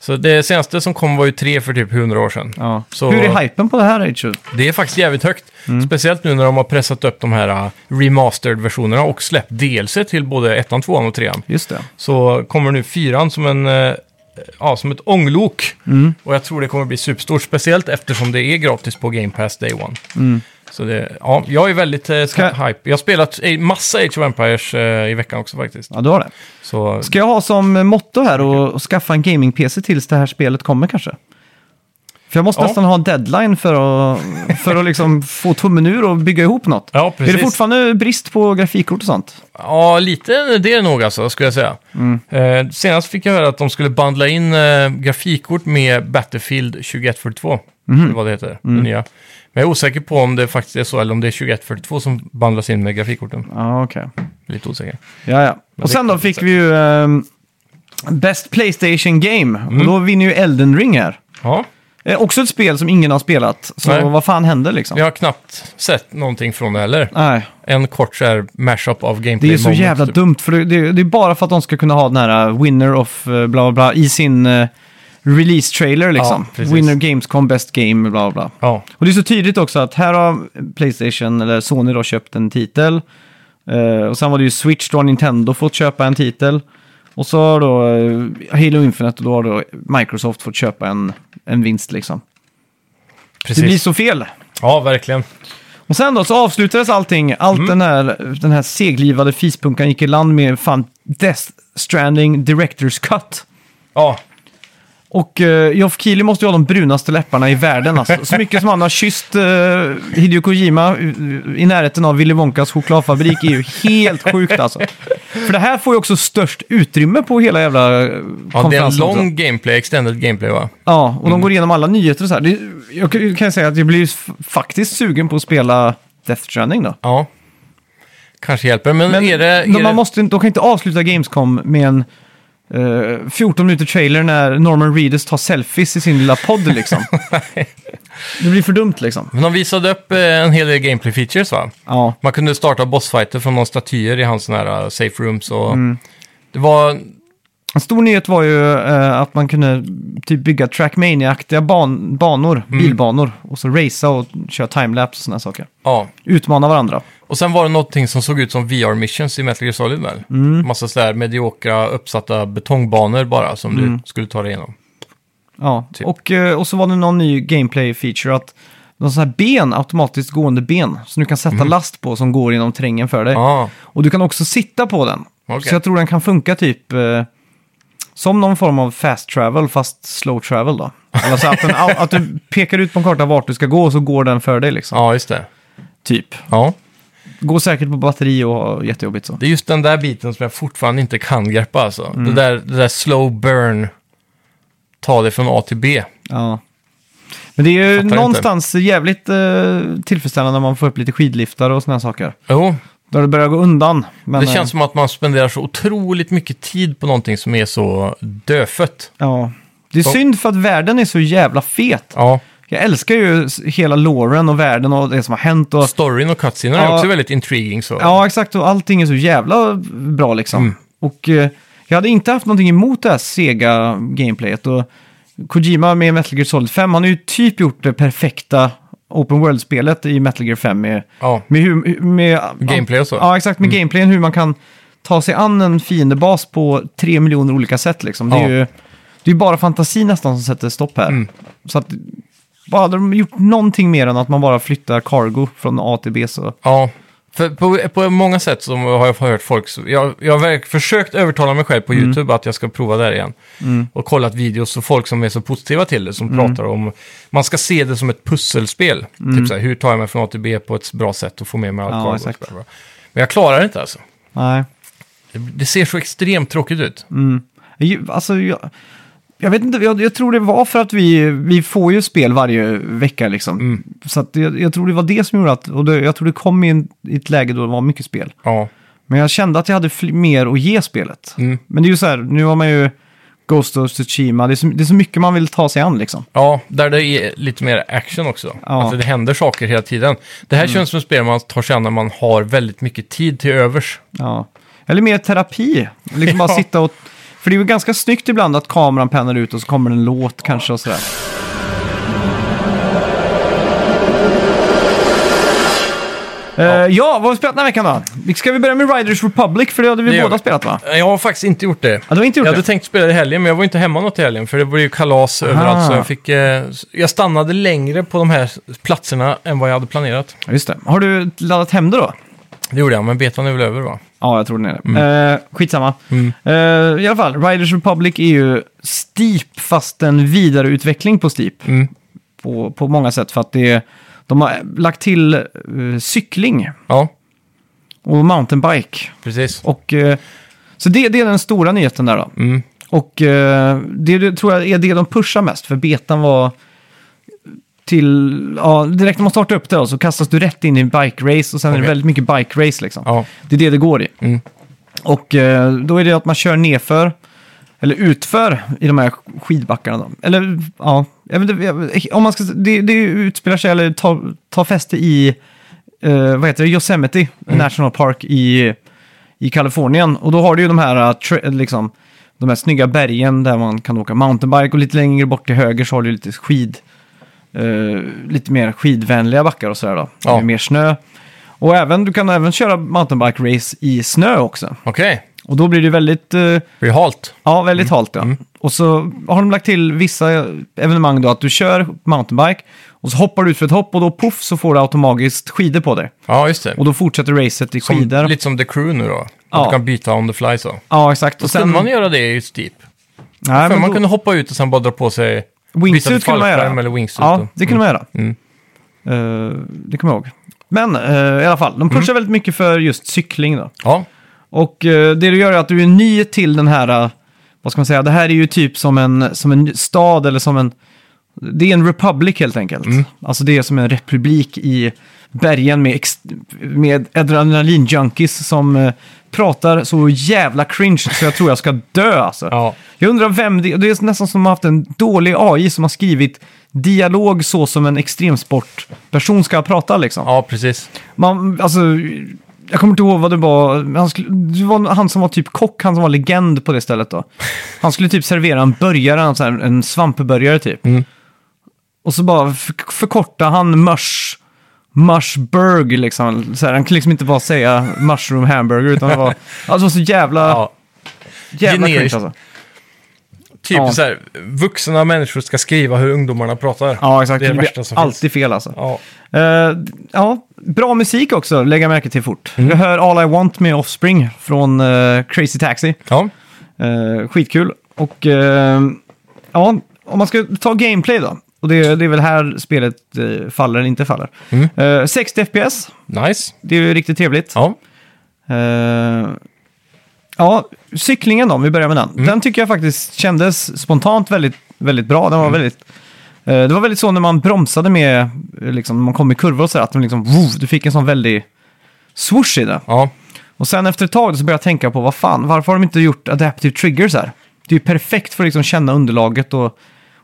B: Så det senaste som kom var ju 3 för typ 100 år sedan.
A: Ja.
B: Så-
A: Hur är hypen på det här Age? of-
B: Det är faktiskt jävligt högt. Speciellt nu när de har pressat upp de här äh, remastered-versionerna och släppt DLC till både 1, 2 och 3.
A: Just det.
B: så kommer nu fyran som en... eh, Ja, som ett ånglok. Och jag tror det kommer bli superstort, speciellt eftersom det är gratis på Game Pass Day One. Så det, ja, jag är väldigt eh,
A: Ska-
B: hype. Jag har spelat eh, massa Age of Empires eh, i veckan också faktiskt.
A: Ja, du har det.
B: Så
A: Ska jag ha som eh, motto här och, och skaffa en gaming-PC tills det här spelet kommer kanske? För jag måste
B: Ja.
A: nästan ha en deadline för att, för att liksom få tummen ur och bygga ihop något.
B: Ja,
A: är det
B: precis.
A: fortfarande brist på grafikkort och sånt?
B: ja, lite det är nog alltså, skulle jag säga.
A: Mm.
B: Eh, senast fick jag höra att de skulle bandla in eh, grafikkort med Battlefield 2142.
A: Mhm.
B: Det är vad det heter,
A: Mm.
B: det nya. Men jag är osäker på om det faktiskt är så, eller om det är 2142 som bandlas in med grafikkorten.
A: Ja, okej.
B: Lite osäker.
A: Ja, ja. Och sen då fick vi ju ehm, Best Playstation Game.
B: Mm.
A: Och då vinner ju Elden Ring här.
B: Ja,
A: Eh, också ett spel som ingen har spelat. Så
B: Nej.
A: vad fan hände liksom?
B: jag har knappt sett någonting från det heller.
A: Nej,
B: En kort så här mashup av gameplay
A: det är så
B: moments,
A: jävla
B: typ.
A: dumt. För det, det, det är bara för att de ska kunna ha den här eh, winner of eh, bla bla bla i sin eh, release-trailer liksom.
B: precis.
A: winner Gamescom Best Game bla bla bla.
B: Ja,
A: Och det är så tydligt också att här har Playstation, eller Sony då, köpt en titel. Eh, och sen var det ju Switch, då har Nintendo fått köpa en titel. Och så har då eh, Halo Infinite och då har då Microsoft fått köpa en, en vinst liksom.
B: precis.
A: Det blir så fel.
B: Ja, verkligen.
A: Och sen då så avslutades allting. Allt
B: Mm.
A: den, här, den här seglivade fispunkan gick i land med fan Death Stranding Directors Cut.
B: Ja,
A: Och uh, Geoff Keighley måste ju ha de brunaste läpparna i världen. Alltså. Så mycket som han har kysst eh, Hideo Kojima eh, i närheten av Willy Wonkas chokladfabrik är ju helt sjukt alltså. För det här får ju också störst utrymme på hela jävla eh,
B: ja det är en
A: konferensen
B: lång Mm.
A: också.
B: gameplay, extended gameplay va?
A: Ja, och de går igenom alla nyheter och så här. Det, jag kan- kan säga att jag blir f- faktiskt sugen på att spela Death Stranding då.
B: Ja. Kanske hjälper, men,
A: Men
B: är det... Är
A: de, man
B: det...
A: måste, inte- de kan inte avsluta Gamescom med en eh, 14 minuter trailer när Norman Reedus tar selfies i sin lilla podd liksom.
B: <laughs>
A: det blir för dumt liksom.
B: Men de visade upp eh, en hel del gameplay features va?
A: Ja,
B: Man kunde starta bossfighter från några statyer i hans sån här uh, safe rooms och... Det var...
A: en stor nyhet var ju eh, att man kunde typ bygga Trackmania-aktiga ban- banor,
B: Mm.
A: bilbanor. Och så racea och köra timelapse och sådana saker.
B: Ja.
A: Utmana varandra.
B: Och sen var det någonting som såg ut som VR-missions i Metal Gear Solid väl? Massa sådär mediokra uppsatta betongbanor bara som du skulle ta dig igenom.
A: Ja,
B: Typ.
A: och, eh, och så var det någon ny gameplay-feature att de så här ben, automatiskt gående ben, som du kan sätta last på som går genom terrängen för dig.
B: Mm. Ja,
A: Och du kan också sitta på den.
B: Okej.
A: Så jag tror den kan funka typ eh, som någon form av fast travel, fast slow travel då. Alltså att, den, att du pekar ut på en karta vart du ska gå och så går den för dig liksom.
B: ja just det.
A: Typ.
B: Ja.
A: Går säkert på batteri och har jättejobbigt så.
B: Det är just den där biten som jag fortfarande inte kan greppa alltså. Det, där, det där slow burn, ta det från A till B.
A: Ja. Men det är ju
B: Fattar inte.
A: någonstans jävligt eh, tillfredsställande när man får upp lite skidliftar och sådana saker.
B: Jo,
A: Där det börjar gå undan. Men,
B: det
A: eh,
B: känns som att man spenderar så otroligt mycket tid på någonting som är så dödfött.
A: Ja. Det är
B: Så-
A: synd för att världen är så jävla fet.
B: Ja.
A: Jag älskar ju s- hela loren och världen och det som har hänt. Och...
B: Storyn och cutscenen är
A: Ja.
B: också väldigt intriguing så.
A: Ja, exakt. Och allting är så jävla bra liksom.
B: Mm.
A: Och eh, jag hade inte haft någonting emot det här sega gameplayet. Och Kojima med Metal Gear Solid 5, han har ju typ gjort det perfekta open world-spelet i Metal Gear 5 med,
B: Ja.
A: med, hur, med
B: Gameplay och så. Mm.
A: Ja, exakt. Med gameplayen, hur man kan ta sig an en fiendebas på tre miljoner olika sätt. Liksom. Det är
B: Ja. Mm.
A: ju det är ju bara fantasi nästan som sätter stopp här. Så att, bara hade de gjort någonting mer än att man bara flyttar cargo från A till B så...
B: Ja, för på, på många sätt som har jag hört folk... så- Jag, jag har verk, försökt övertala mig själv på YouTube att jag ska prova där igen. Och kollat videos och folk som är så positiva till det, som pratar om... Man ska se det som ett pusselspel. Typ så här, hur tar jag mig från A till B på ett bra sätt och får med mig allt
A: Ja,
B: cargo och
A: exakt.
B: så där, va? Men jag klarar det inte alltså.
A: Nej.
B: Det, det ser så extremt tråkigt ut.
A: Ju- Alltså, jag, jag vet inte, jag, jag tror det var för att vi, vi får ju spel varje vecka liksom. Så att jag, jag tror det var det som gjorde att, och det, jag tror det kom i, en, i ett läge då det var mycket spel.
B: Ja,
A: Men jag kände att jag hade fl- mer att ge spelet.
B: Mm.
A: Men det är ju så här, nu har man ju Ghost of Tsushima, det är så, det är så mycket man vill ta sig an liksom.
B: ja där det är lite mer action också.
A: Ja. Mm.
B: Att det händer saker hela tiden. Det här känns som ett spel man tar sig an när man har väldigt mycket tid till övers.
A: Ja. Eller mer terapi, liksom bara
B: Ja.
A: sitta och... För det är ju ganska snyggt ibland att kameran pannar ut och så kommer en låt kanske och sådär. Ja. Eh, ja, vad har vi spelat den här veckan då? Ska vi börja med Riders Republic? För det hade vi
B: Det gör
A: båda
B: vi.
A: spelat va?
B: Jag har faktiskt inte gjort det.
A: Ja, du har inte gjort
B: jag hade
A: det?
B: tänkt spela det i helgen, men jag var inte hemma något i helgen, för det var ju kalas överallt. Så jag, fick, eh, jag stannade längre på de här platserna än vad jag hade planerat.
A: Ja, Just det. Har du laddat hem det då?
B: Det gjorde jag, men betan är väl över va?
A: Ja, jag tror den är det. Eh, skitsamma. Eh, I alla fall, Riders Republic är ju Steep, fast en vidareutveckling på Steep.
B: Mm.
A: På, på många sätt, för att det är, de har lagt till eh, cykling
B: Ja,
A: och mountainbike.
B: precis.
A: Och, eh, så det, det är den stora nyheten där då.
B: Mm.
A: Och eh, det, det tror jag är det de pushar mest, för betan var till, ja, direkt när man startar upp det då, så kastas du rätt in i en bike-race och sen är det
B: Okej.
A: väldigt mycket bike-race liksom.
B: Ja,
A: Det är det det går i.
B: Mm.
A: Och eh, då är det att man kör nerför, eller utför, i de här skidbackarna. Då. Eller ja, jag vet inte, jag- om man ska, det, det utspelar sig, eller tar ta fäste i, eh, vad heter det, Yosemite National Park i, i Kalifornien. Och då har du ju de här, eh, tra- liksom, de här snygga bergen där man kan åka mountainbike och lite längre bort till höger så har du lite skid, eh, lite mer skidvänliga backar och sådär då.
B: Ja.
A: Med mer snö. Och även, du kan även köra mountainbike-race i snö också.
B: okej.
A: Och då blir det väldigt, eh,
B: Blir det halt?
A: ja, väldigt halt. Ja. Och så har de lagt till vissa evenemang då, att du kör mountainbike och så hoppar du ut för ett hopp och då poff så får du automatiskt skidor på dig.
B: Ja, just det.
A: Och då fortsätter racet i
B: Som,
A: skidor.
B: lite som The Crew nu då.
A: Ja.
B: Att Du kan byta on the fly så.
A: Ja, exakt. Och
B: Sen... Kunde man göra det i Steep?
A: nej,
B: för
A: men
B: man
A: då,
B: kunde hoppa ut och sen bara dra på sig... byta till
A: wingsuit kunde man
B: fallskärm
A: göra.
B: Eller wingsuit
A: Ja,
B: då.
A: det kunde man göra.
B: Mm.
A: Eh, det kommer jag ihåg. Men eh, i alla fall, de pushar
B: Mm.
A: väldigt mycket för just cykling då.
B: Ja,
A: Och eh, det du gör är att du är ny till den här, eh, vad ska man säga, det här är ju typ som en, som en stad eller som en, det är en republic helt enkelt. Alltså det är som en republik i bergen med, ex, med adrenalinjunkies som eh, pratar så jävla cringe så jag tror jag ska dö alltså.
B: ja.
A: Jag undrar vem det, det är nästan som att de har haft en dålig AI som har skrivit dialog så som en extremsportperson ska prata liksom.
B: ja precis.
A: Man, alltså, jag kommer inte ihåg vad det var. men Han, skulle, det var han som var typ kock, han som var legend på det stället då. Han skulle typ servera en burgare, en, sån här- en svampburgare typ.
B: Mm.
A: Och så bara f- förkorta han mush, mushburg liksom. Så här, han kunde liksom inte bara säga mushroom hamburger utan det
B: <laughs>
A: var, alltså, det var så jävla,
B: Ja.
A: jävla cringe
B: generiskt.
A: alltså.
B: Typ
A: Ja.
B: så här, vuxna människor ska skriva hur ungdomarna pratar.
A: Ja, exakt.
B: Det är det
A: blir
B: värsta som
A: alltid
B: finns.
A: fel alltså.
B: Ja.
A: Eh, ja, bra musik också, lägga märke till fort.
B: Mm.
A: Jag hör All I Want med Offspring från eh, Crazy Taxi.
B: ja.
A: Eh, skitkul. Och eh, ja, om man ska ta gameplay då. Och det, det är väl här spelet eh, faller eller inte faller. Eh, 60 FPS,
B: Nice.
A: det är ju riktigt trevligt.
B: Ja.
A: Eh, ja, cyklingen då, om vi börjar med den. Den tycker jag faktiskt kändes spontant väldigt, väldigt bra. Den var väldigt, eh, det var väldigt så när man bromsade med, eh, liksom, när man kom i kurvor och sådär, att den liksom, woof, du fick en sån väldig swoosh i det.
B: ja.
A: Och sen efter ett tag så började jag tänka på, vad fan, varför har de inte gjort adaptive triggers här? Det är ju perfekt för att liksom känna underlaget och,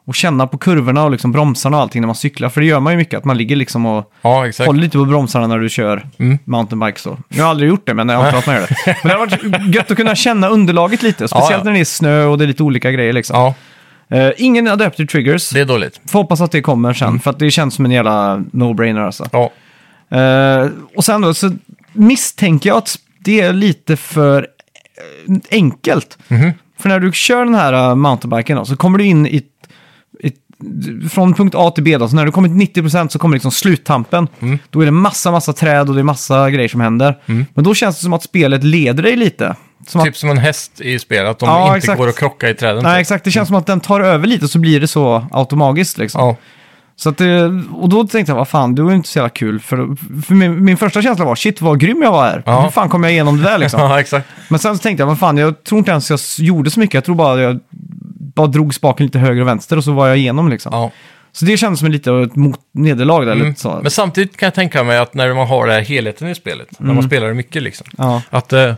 A: och känna på kurvorna och liksom bromsarna och allting när man cyklar. För det gör man ju mycket, att man ligger liksom och
B: Ja, exakt.
A: Håll lite på bromsarna när du kör
B: Mm.
A: mountainbike så. Jag har aldrig gjort det, men jag har pratat med det. Men det har varit gött att kunna känna underlaget lite, speciellt
B: Ja, ja.
A: när det är snö och det är lite olika grejer liksom.
B: Ja.
A: Eh, ingen Adaptive Triggers.
B: Det Mm. är dåligt.
A: Får hoppas att det kommer sen, för att det känns som en jävla no-brainer alltså.
B: Ja.
A: Eh, och sen då så misstänker jag att det är lite för eh, enkelt. För när du kör den här eh, mountainbiken då, så kommer du in i, i från punkt A till B då, så när du kommer till 90% så kommer liksom sluttampen. Då är det massa, massa träd och det är massa grejer som händer. Men då känns det som att spelet leder dig lite. Som att,
B: Typ som en häst i spel, att de
A: Ja,
B: inte
A: exakt.
B: går att krocka i träden.
A: nej,
B: typ.
A: exakt. Det känns som att den tar över lite så blir det så automatiskt liksom.
B: Ja. <laughs>
A: Så att, eh, och då tänkte jag, vad fan, det var ju inte så jävla kul. För, för min, min första känsla var, shit vad grym jag var här.
B: Ja.
A: Hur fan kom jag igenom det där liksom?
B: <laughs> ja, exakt.
A: Men sen så tänkte jag, vad fan, jag tror inte ens jag s- gjorde så mycket. Jag tror bara jag bara drog spaken lite höger och vänster och så var jag igenom liksom.
B: Ja.
A: Så det kändes som lite av ett mot- nederlag där.
B: Mm.
A: Lite så.
B: Men samtidigt kan jag tänka mig att när man har den här helheten i spelet, när man spelar det mycket liksom,
A: Mm. Ja.
B: att eh,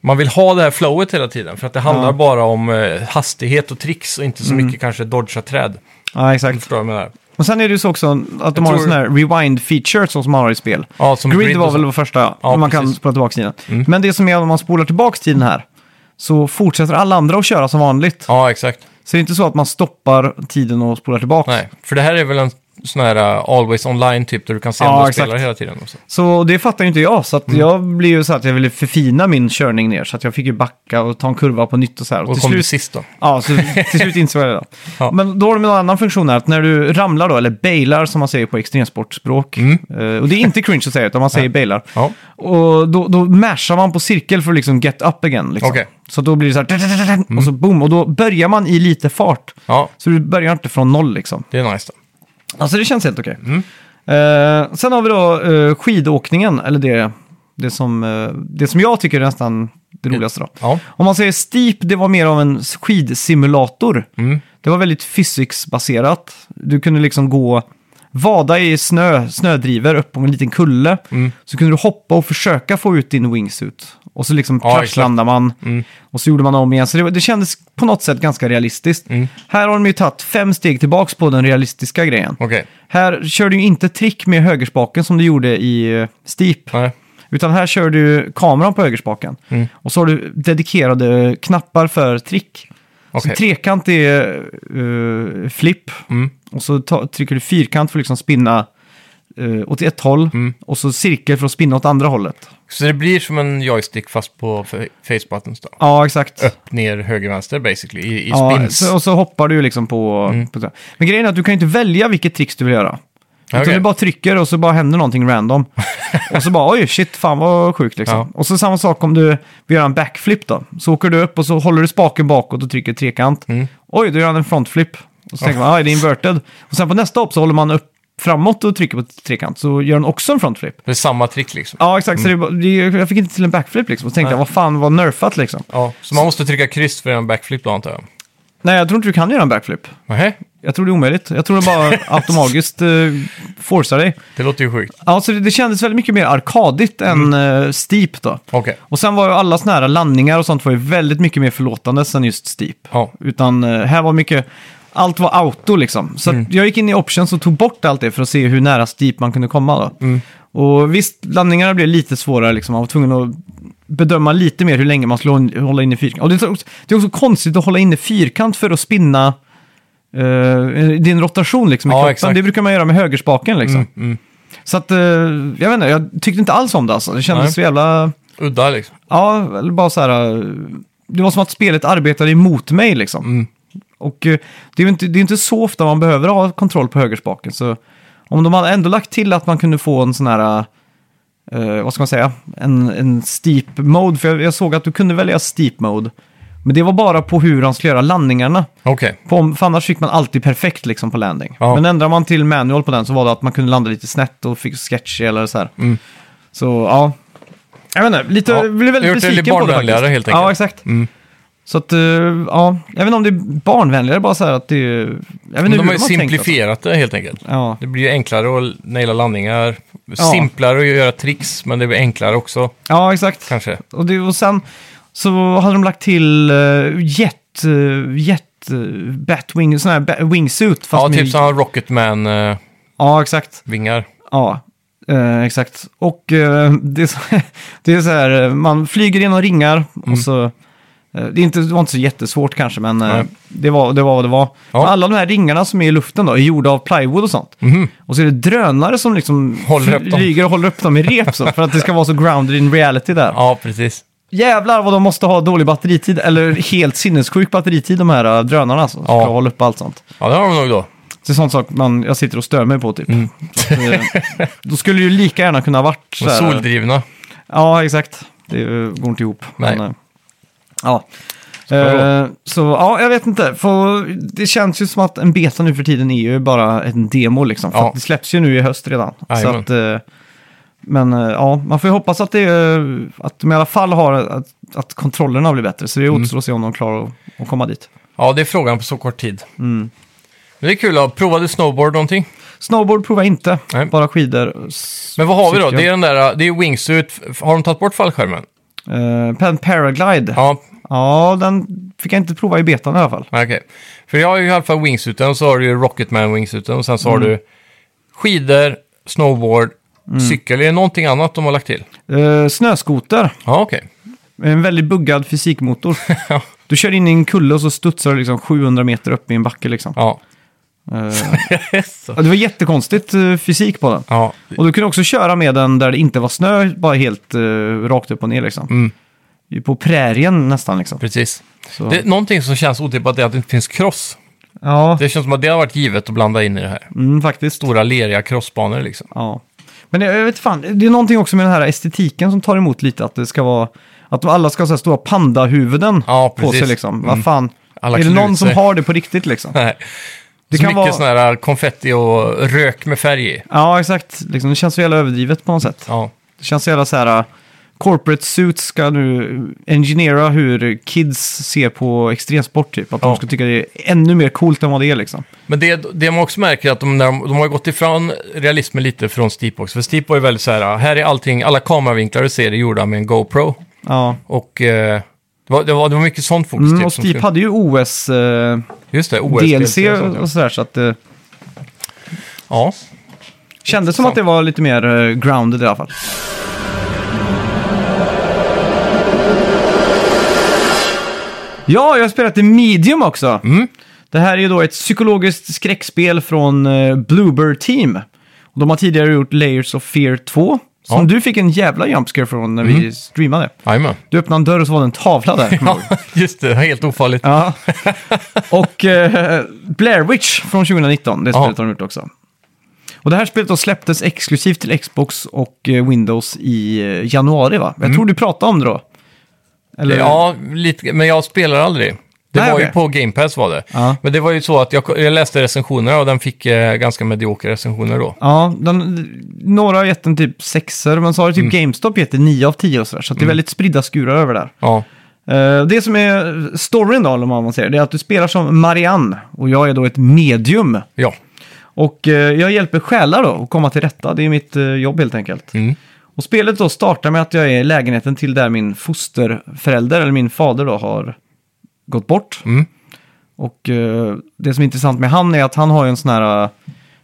B: man vill ha det här flowet hela tiden, för att det handlar bara om eh, hastighet och tricks och inte
A: Mm.
B: så mycket kanske dodga träd.
A: ja, exakt.
B: Förstår du vad jag menar?
A: Och sen är det ju så också att de
B: Jag
A: har en
B: tror-
A: sån här rewind-feature som man har i spel.
B: Ja, som
A: Grid,
B: grid och
A: var
B: så.
A: väl det första, ja.
B: Ja,
A: man kan
B: precis. Mm.
A: spola tillbaka tiden. Men det som är om man spolar tillbaka tiden här, så fortsätter alla andra att köra som vanligt.
B: Ja, exakt.
A: Så det är inte så att man stoppar tiden och spolar tillbaka.
B: Nej, för det här är väl en sån här eh, always online typ, där du kan se
A: Ja,
B: om du
A: exakt.
B: spelar hela tiden. Också.
A: Så det fattar ju inte jag, så att
B: Mm.
A: jag blev ju så att jag ville förfina min körning ner. Så att jag fick ju backa och ta en kurva på nytt och så här. Och,
B: Och
A: till,
B: kom du
A: slut,
B: sist då?
A: ja, så till slut insåg jag det. Då.
B: <laughs> Ja.
A: Men då har de en annan funktion här, att när du ramlar då, eller bailar som man säger på extremsportspråk.
B: Mm.
A: eh, Och det är inte cringe att säga, utan man säger bailar.
B: Ja.
A: Och då, då mashar man på cirkel för att liksom get up again. Liksom.
B: Okej. Mm.
A: Så då blir det så här, och så boom, och då börjar man i lite fart.
B: Ja,
A: Så du börjar inte från noll liksom.
B: det är nice då.
A: Alltså det känns helt okej.
B: Mm.
A: Eh, sen har vi då eh, skidåkningen, eller det, det, som, eh, det som jag tycker är nästan det
B: Mm.
A: roligaste då.
B: Ja,
A: Om man säger steep, det var mer av en skidsimulator.
B: Mm.
A: Det var väldigt physics-baserat. Du kunde liksom gå, vada i snö, snödriver upp på en liten kulle.
B: Mm.
A: Så kunde du hoppa och försöka få ut din wingsuit. Och så liksom
B: Ja,
A: kraschlandade man.
B: Mm.
A: Och så gjorde man om igen. Så det, var- det kändes på något sätt ganska realistiskt.
B: Mm.
A: Här har de ju tagit fem steg tillbaks på den realistiska grejen.
B: okej.
A: Här kör du ju inte trick med högerspaken som du gjorde i eh, Steep.
B: Nej.
A: Utan här kör du kameran på högerspaken.
B: Mm.
A: Och så har du dedikerade knappar för trick.
B: Okej.
A: Så trekant är uh, flip.
B: Mm.
A: Och så ta, trycker du fyrkant för att liksom spinna uh, åt ett håll.
B: Mm.
A: Och så cirkel för att spinna åt andra hållet.
B: Så det blir som en joystick fast på fa- face buttons då?
A: Ja, exakt.
B: Upp, ner, höger, vänster basically, i, i
A: Ja,
B: spins. Mm.
A: så, och så hoppar du liksom på, på... så- Men grejen är att du kan ju inte välja vilket tricks du vill göra.
B: Okej.
A: Utan du bara trycker och så bara händer någonting
B: <laughs>
A: random. och så bara oj, shit, fan vad sjukt liksom.
B: Ja.
A: Och så samma sak om du vill göra en backflip då. Så åker du upp och så håller du spaken bakåt och trycker trekant.
B: Mm.
A: Oj, då gör han en frontflip. Och så tänker man, aj, det är inverted. Och sen på nästa hopp så håller man upp framåt och trycker på trekant. Så gör den också en frontflip.
B: Det är samma trick liksom.
A: Ja, exakt. Så det, är bara- det, jag fick inte till en backflip liksom. Så tänkte jag, vad fan, vad nerfat liksom.
B: Ja, så man måste trycka kryss för en backflip då antar jag?
A: Nej, jag tror inte du kan göra en backflip.
B: Nej,
A: Jag tror det är omöjligt. Jag tror det bara automatiskt uh, forcar dig.
B: det låter ju sjukt.
A: Alltså det, det kändes väldigt mycket mer arkadigt än eh, Steep då.
B: Okej,
A: Och sen var ju alla såna här landningar och sånt var ju väldigt mycket mer förlåtande än just Steep.
B: ja.
A: Utan eh, här var mycket, allt var auto liksom. Så
B: Mm.
A: att jag gick in i options och tog bort allt det för att se hur nära Steep man kunde komma då.
B: Mm.
A: Och visst, landningarna blev lite svårare liksom. Man var tvungen att bedöma lite mer hur länge man skulle hå- hålla inne i fyrkant. Och det är, också, det är också konstigt att hålla inne fyrkant för att spinna eh, din rotation liksom i
B: Ja,
A: kroppen.
B: exakt. Mm,
A: Det brukar man göra med högerspaken liksom. Så att, eh, jag vet inte, jag tyckte inte alls om det alltså. Det kändes
B: Nej.
A: så jävla...
B: Udda liksom.
A: Ja, eller bara så här. eh, Det var som att spelet arbetade emot mig liksom. Och eh, det är ju inte, det är inte så ofta man behöver ha kontroll på högerspaken. Så om de hade ändå lagt till att man kunde få en sån här, eh, vad ska man säga, en, en steep mode. För jag, jag såg att du kunde välja steep mode. Men det var bara på hur han skulle göra landningarna.
B: Okej,
A: På, om- för annars fick man alltid perfekt liksom på landing.
B: Ja.
A: Men ändrar man till manual på den så var det att man kunde landa lite snett och fick sketchy eller så här. Så ja, jag vet inte, lite,
B: Mm. Ja.
A: jag blev
B: Det har
A: väldigt
B: gjort det lite
A: besviken på det
B: barnvänligare,
A: faktiskt.
B: helt enkelt. Mm.
A: Ja, exakt. Så att, eh, ja, jag vet inte om det är barnvänligare bara så här att det är... Jag vet
B: men
A: inte hur
B: de har ju
A: tänkt, alltså.
B: simplifierat det helt enkelt.
A: Ja.
B: Det blir ju enklare att naila landningar, simplare att göra tricks, men det blir enklare också
A: ja, exakt.
B: kanske.
A: Och, det, och sen så hade de lagt till uh, jet, eh, jet, eh, batwing, sån här ba- wingsuit. Fast
B: Ja,
A: med,
B: typ sådana Rocketman-vingar.
A: Ja, exakt. Ja, eh, exakt. <laughs>
B: Mm.
A: Och eh, det, är så, det är så här, eh, man flyger genom ringar och så Eh, Det, är inte, det var inte så jättesvårt kanske, men eh,
B: Nej.
A: det var, det var vad det var.
B: Ja. Mhm.
A: Alla de här ringarna som är i luften då, är gjorda av plywood och sånt. Och så är det drönare som liksom
B: Håller upp dem.
A: flyger och håller upp dem i rep så, för att det ska vara så grounded in reality där.
B: Ja, precis.
A: Jävlar vad de måste ha dålig batteritid, eller helt sinnessjuk batteritid de här eh, drönarna alltså, som
B: Ja.
A: ska hålla upp allt sånt.
B: Ja, det har de nog då.
A: Det är sånt sak man, jag sitter och stör mig på typ.
B: Mm.
A: Så att, eh, Då skulle det ju lika gärna kunna ha varit
B: De
A: så
B: är
A: här, eh,
B: soldrivna.
A: Ja, exakt. Det eh, går inte ihop.
B: Nej.
A: eh, ja.
B: vadå?
A: Eh, så ja, jag vet inte. För det känns ju som att en beta nu för tiden är ju bara en demo liksom. För
B: Ja.
A: att det släpps ju nu i höst redan. Så
B: Jajamän.
A: att, eh, men eh, ja, man får ju hoppas att, det, är- att de i alla fall har att, att kontrollerna blir bättre. Så det
B: Mm.
A: återstår att se om de klarar att, att komma dit.
B: Ja, det är frågan på så kort tid. Men det är kul. Ja. Provade snowboard någonting?
A: Snowboard provar jag inte,
B: Nej.
A: bara skidor. S-
B: Men vad har vi då?
A: cyklar.
B: Det är den där, det är wingsuit. Har de tagit bort fallskärmen?
A: Eh, Pen Paraglide. Ja.
B: Ja,
A: den fick jag inte prova i betan i alla fall.
B: Ah, okej. För jag har ju i alla fall wingsuiten, så har du ju Rocketman wingsuiten och sen så
A: Mm.
B: har du skidor, snowboard, cykel. Är det någonting annat de har lagt till?
A: Eh, snöskoter.
B: Ja, okej.
A: Med en väldigt buggad fysikmotor.
B: <laughs> Ja.
A: Du kör in i en kulle och så studsar du liksom 700 meter upp i en backe. Liksom.
B: Ja.
A: Eh,
B: Så.
A: ja, det var jättekonstigt eh, fysik på den.
B: ja.
A: Och du kunde också köra med den där det inte var snö, bara helt eh, rakt upp och ner. Liksom.
B: Mm.
A: På prärien nästan. Liksom.
B: Precis.
A: Så,
B: Det, någonting som känns otippat är att det inte finns cross.
A: ja,
B: Det känns som att det har varit givet att blanda in i det här.
A: mm, faktiskt.
B: Stora leriga crossbanor liksom.
A: Ja. Men jag, jag vet fan, det är någonting också med den här estetiken som tar emot lite. Att det ska vara... Att de alla ska ha så här stora pandahuvuden
B: Ja,
A: på sig
B: precis. Mm.
A: liksom. Vad fan.
B: Alla
A: är det någon
B: knut
A: som
B: sig.
A: har det på riktigt
B: <laughs>
A: liksom?
B: Nej.
A: Det
B: Det så
A: kan
B: mycket
A: vara-
B: sån här konfetti och rök med färg i.
A: Ja, exakt. Liksom, det känns så jävla överdrivet på något sätt.
B: Ja.
A: Det känns så jävla så här, uh, corporate suits ska nu engineera hur kids ser på extremsport typ. Att de
B: Ja.
A: ska tycka det är ännu mer coolt än vad det är liksom.
B: Men det, det man också märker är att de, när de, de har gått ifrån realismen lite från Steep också. För Steep var ju väldigt så här, här är allting, alla kameravinklar du ser är gjorda med en GoPro.
A: Ja.
B: Och eh, det, var, det, var, det var mycket sånt fokus.
A: Mm,
B: typ,
A: och
B: som
A: Steep
B: skulle-
A: hade ju äh, OS-DLC
B: Just det, OS-DLC och sånt, ja.
A: och sådär så att äh, det
B: ja.
A: kändes som att det var lite mer eh, grounded i alla fall. Ja, jag har spelat i Medium också. Det här är ju då ett psykologiskt skräckspel från eh, Bluebird Team. Och De har tidigare gjort Layers of Fear 2, som
B: Ja.
A: du fick en jävla jumpscare från när vi streamade.
B: Jajamän. <laughs>
A: Du öppnade en dörr och så var det en tavla där. kommer jag
B: Ja,
A: ihåg.
B: just det. Helt ofarligt.
A: Ja. <laughs> Och eh, Blair Witch från 2019, det
B: Ja.
A: spelet har de gjort också. Och det här spelet då släpptes exklusivt till Xbox och eh, Windows i eh, januari va? Jag tror du pratade om det då. Eller?
B: Mm. Ja, lite, men jag spelar aldrig. Det
A: Nej,
B: var ju
A: okej.
B: på Game Pass var det.
A: Ja.
B: Men det var ju så att jag, jag läste recensionerna och den fick eh, ganska mediokra recensioner då.
A: Ja, den, några har gett den typ sexer, men så har typ
B: Mm.
A: GameStop gett den 9 av 10 och sådär. Så att det är väldigt spridda skurar över där.
B: Ja,
A: Eh, det som är storyn då, om man säger, det är att du spelar som Marianne och jag är då ett medium.
B: ja.
A: Och eh, jag hjälper själar då att komma till rätta, det är mitt eh, jobb helt enkelt.
B: Mm.
A: Och spelet då startar med att jag är i lägenheten till där min fosterförälder, eller min fader då, har gått bort.
B: Mm.
A: Och eh, det som är intressant med han är att han har ju en sån här eh,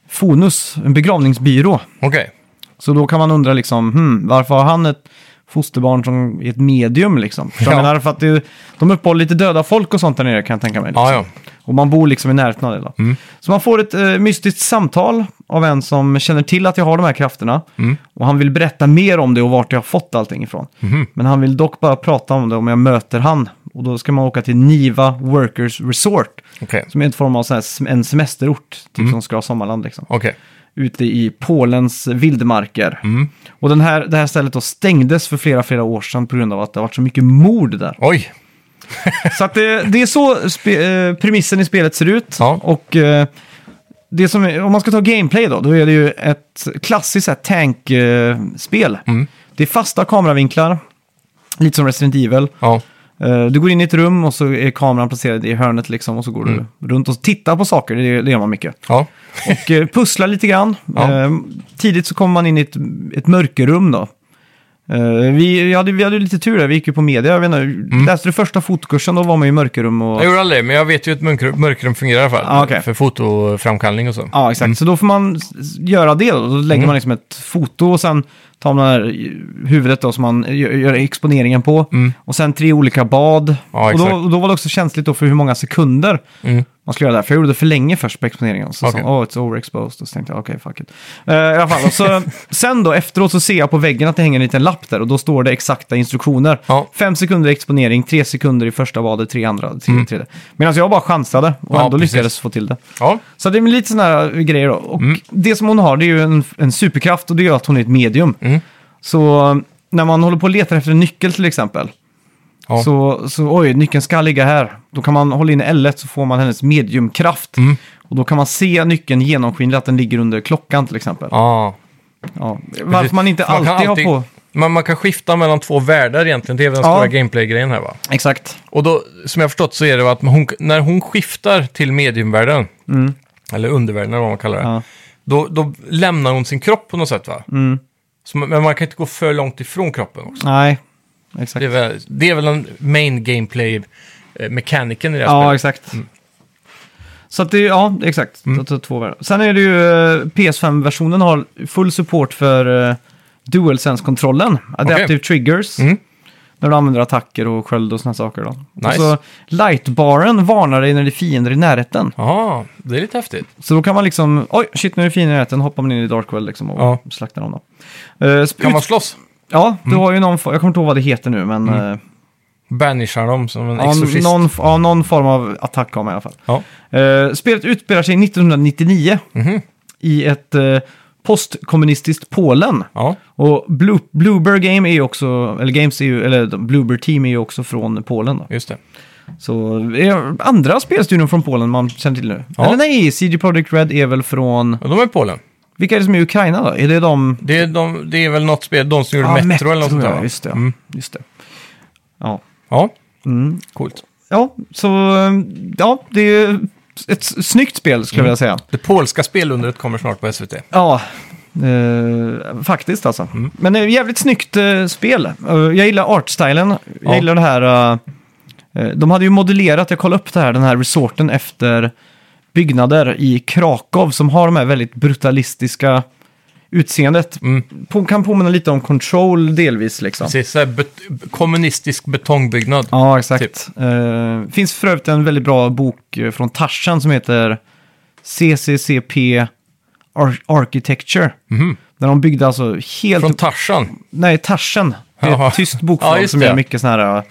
A: fonus, en begravningsbyrå.
B: okej.
A: Så då kan man undra liksom, hmm, varför har han ett fosterbarn som är ett medium liksom? För Jag
B: Ja.
A: menar, för att det, de uppehåller lite döda folk och sånt där nere kan jag tänka mig. Liksom.
B: Ja, Mm. ja.
A: Och man bor liksom i närheten av det då. Så man får ett eh, mystiskt samtal av en som känner till att jag har de här krafterna.
B: Mm.
A: Och han vill berätta mer om det och vart jag har fått allting ifrån.
B: Mhm.
A: Men han vill dock bara prata om det om jag möter han. Och då ska man åka till Niva Workers Resort.
B: Okej. Mm.
A: Som är en form av så här, sem- en semesterort, typ som ska ha sommarland liksom
B: Okej.
A: ute i Polens vildmarker. Och den här, det här stället då stängdes för flera, flera år sedan på grund av att det har varit så mycket mord där.
B: Oj.
A: Så att det, det är så spe, eh, premissen i spelet ser ut.
B: Ja.
A: Och eh, det som är, om man ska ta gameplay då, då är det ju ett klassiskt så här tank-spel. Det är fasta kameravinklar, lite som Resident Evil.
B: Ja.
A: Eh, Du går in i ett rum och så är kameran placerad i hörnet liksom och så går du runt och tittar på saker, det, det gör man mycket
B: Ja.
A: och eh, pusslar lite grann.
B: Ja.
A: Eh, Tidigt så kommer man in i ett, ett mörkerrum då. Eh, vi, vi, hade, vi hade lite tur där, vi gick ju på media. Jag vet inte, Läste du första fotokursen, då var man ju i mörkerrum och...
B: Jag gjorde aldrig det, men jag vet ju hur ett mörkrum, mörkrum fungerar i alla fall.
A: Ah, okej. Ah.
B: För fotoframkallning och så.
A: Ja, exakt. Så då får man s- göra det. Då, då lägger
B: Mm.
A: man liksom ett foto och sen tar man det här eh, huvudet då, som man gör, gör exponeringen på. Och sen tre olika bad.
B: Mm. Ja,
A: och, då,
B: exakt. Mm.
A: och då var det också känsligt då för hur många sekunder man skulle göra det här. För jag gjorde det för länge först på exponeringen. Så sa
B: Okej.
A: jag, oh, it's overexposed. Och så tänkte jag, okej, fuck it. Eh, I alla fall, och så,
B: <laughs>
A: sen då efteråt så ser jag på väggen att det hänger en liten lapp där och då står det exakta instruktioner.
B: Ja.
A: Fem sekunder i exponering, tre sekunder i första badet, tre i andra, tre i tredje. Medan jag bara chansade och
B: Mm. Ja,
A: ändå
B: precis.
A: lyckades få till det.
B: Ja,
A: Så det är lite sådana här grejer då. Och det som hon har det är ju en, en superkraft och det gör att hon är ett medium. Så eh, när man håller på och letar efter en nyckel till exempel.
B: Ja.
A: Så, så oj, nyckeln ska ligga här. Då kan man hålla in L1 så får man hennes mediumkraft. Och då kan man se nyckeln genomskinlig att den ligger under klockan till exempel. Ja.
B: ja.
A: Varför man inte
B: kan
A: alltid har
B: alltid-
A: på...
B: Man, man kan skifta mellan två världar egentligen. Det är väl den
A: Ja.
B: stora gameplay-grejen här va?
A: Exakt.
B: Och då, som jag har förstått så är det att hon, när hon skiftar till mediumvärlden, eller undervärlden eller vad man kallar det,
A: Mm. Ja. Mm.
B: då, då lämnar hon sin kropp på något sätt va? Så, man- men man kan inte gå för långt ifrån kroppen också.
A: Nej,
B: Det
A: exakt.
B: är väl, det är väl den main gameplay-mekaniken i det här
A: Ja,
B: spelet.
A: exakt. Så att det, ja, exakt. Mm. två världar. Sen är det ju, eh, PS5-versionen har full support för eh, DualSense-kontrollen. Adaptive triggers.
B: Mm.
A: När du använder attacker och sköld och sådana saker då.
B: Nice.
A: Och så lightbaren varnar dig när det är fiender i närheten.
B: Ja, det är lite häftigt.
A: Så då kan man liksom, oj, shit nu är det fiender i närheten, hoppar man in i Darkwell liksom och
B: Ja.
A: slaktar dem då. Eh, sp-
B: Kan man Mm.
A: ut-
B: slåss?
A: Ja, du har ju någon, fo- jag kommer inte ihåg vad det heter nu, men eh,
B: Banishar dem som en
A: ja,
B: exorcist.
A: någon, f- ja, någon form av attack har man i alla fall.
B: Ja. Mhm.
A: Eh, spelet utspelar sig 1999 i ett eh, postkommunistiskt Polen.
B: Ja.
A: Och Blue, Bluebird Game är ju också, eller Games är ju, eller Bluebird Team är ju också från Polen då.
B: just det.
A: Så är andra spelstudion från Polen man känner till nu.
B: Ja.
A: Eller nej, CD Projekt Red är väl från,
B: Ja, de är i Polen.
A: vilka är det som är i Ukraina då? Är det de?
B: Det är, de, det är väl något spel, de som gjorde
A: Ah,
B: Metro, eller något sånt där.
A: ja,
B: va?
A: just det.
B: Mm.
A: Just det. Ja.
B: Ja,
A: Mm.
B: coolt.
A: ja, så eh, ja, det är ett snyggt spel
B: Mm.
A: skulle jag vilja säga.
B: Det polska spelundret kommer snart på SVT.
A: Ja, eh, faktiskt alltså.
B: Mm.
A: Men det är ett jävligt snyggt eh, spel. Eh, jag gillar artstylen. Jag
B: Ja.
A: gillar det här... eh, de hade ju modellerat, jag kollade upp det här, den här resorten efter byggnader i Krakow som har de här väldigt brutalistiska utseendet.
B: Mm.
A: På, kan påminna lite om Control delvis liksom.
B: Precis, så här bet- kommunistisk betongbyggnad.
A: Ja, exakt. Eh, finns för övrigt en väldigt bra bok eh, från Tarzan som heter CCCP Ar- Architecture. Där de byggde alltså helt...
B: Mhm. Från Tarzan.
A: Nej, Tarzan. Det är
B: Jaha.
A: ett tyst bokförlag
B: Ja, just
A: som
B: det.
A: gör mycket sådana här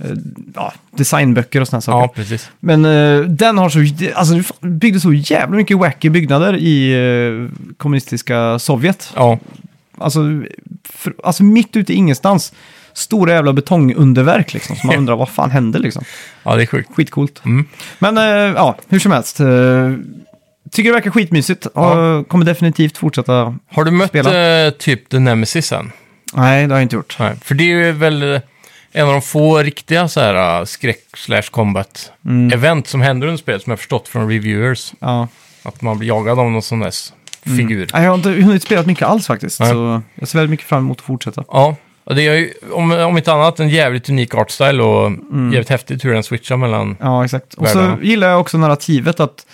A: eh, ja, designböcker och sådana saker.
B: Ja, precis.
A: Men eh, den har så, alltså, det fan- byggde så jävla mycket wacky byggnader i eh, kommunistiska Sovjet.
B: Ja,
A: Alltså, för, alltså mitt ute i ingenstans. Stora jävla betongunderverk liksom.
B: <laughs>
A: Så man undrar vad fan hände liksom.
B: ja det är sjukt.
A: Skitcoolt.
B: Mm.
A: Men eh, ja, hur som helst. Eh, tycker det verkar skitmysigt.
B: Ja.
A: Och kommer definitivt fortsätta.
B: Har du mött
A: Spela.
B: eh, typ The Nemesis än?
A: Nej, det har jag inte gjort.
B: Nej. För det är ju väl eh, en av de få riktiga så här eh, skräck slash combat
A: Mm.
B: event som händer under spelet som jag förstått från reviewers.
A: Ja.
B: Att man blir jagad av någon sån där s- figur.
A: Mm. Nej, Jag har inte hunnit spela mycket alls faktiskt.
B: Nej.
A: Så jag ser väldigt mycket fram emot att fortsätta.
B: Ja, och det är ju om, om inte annat en jävligt unik artstyle och
A: Mm.
B: jävligt häftigt hur den switchar mellan...
A: Ja, exakt. Och så
B: Världarna.
A: gillar jag också narrativet att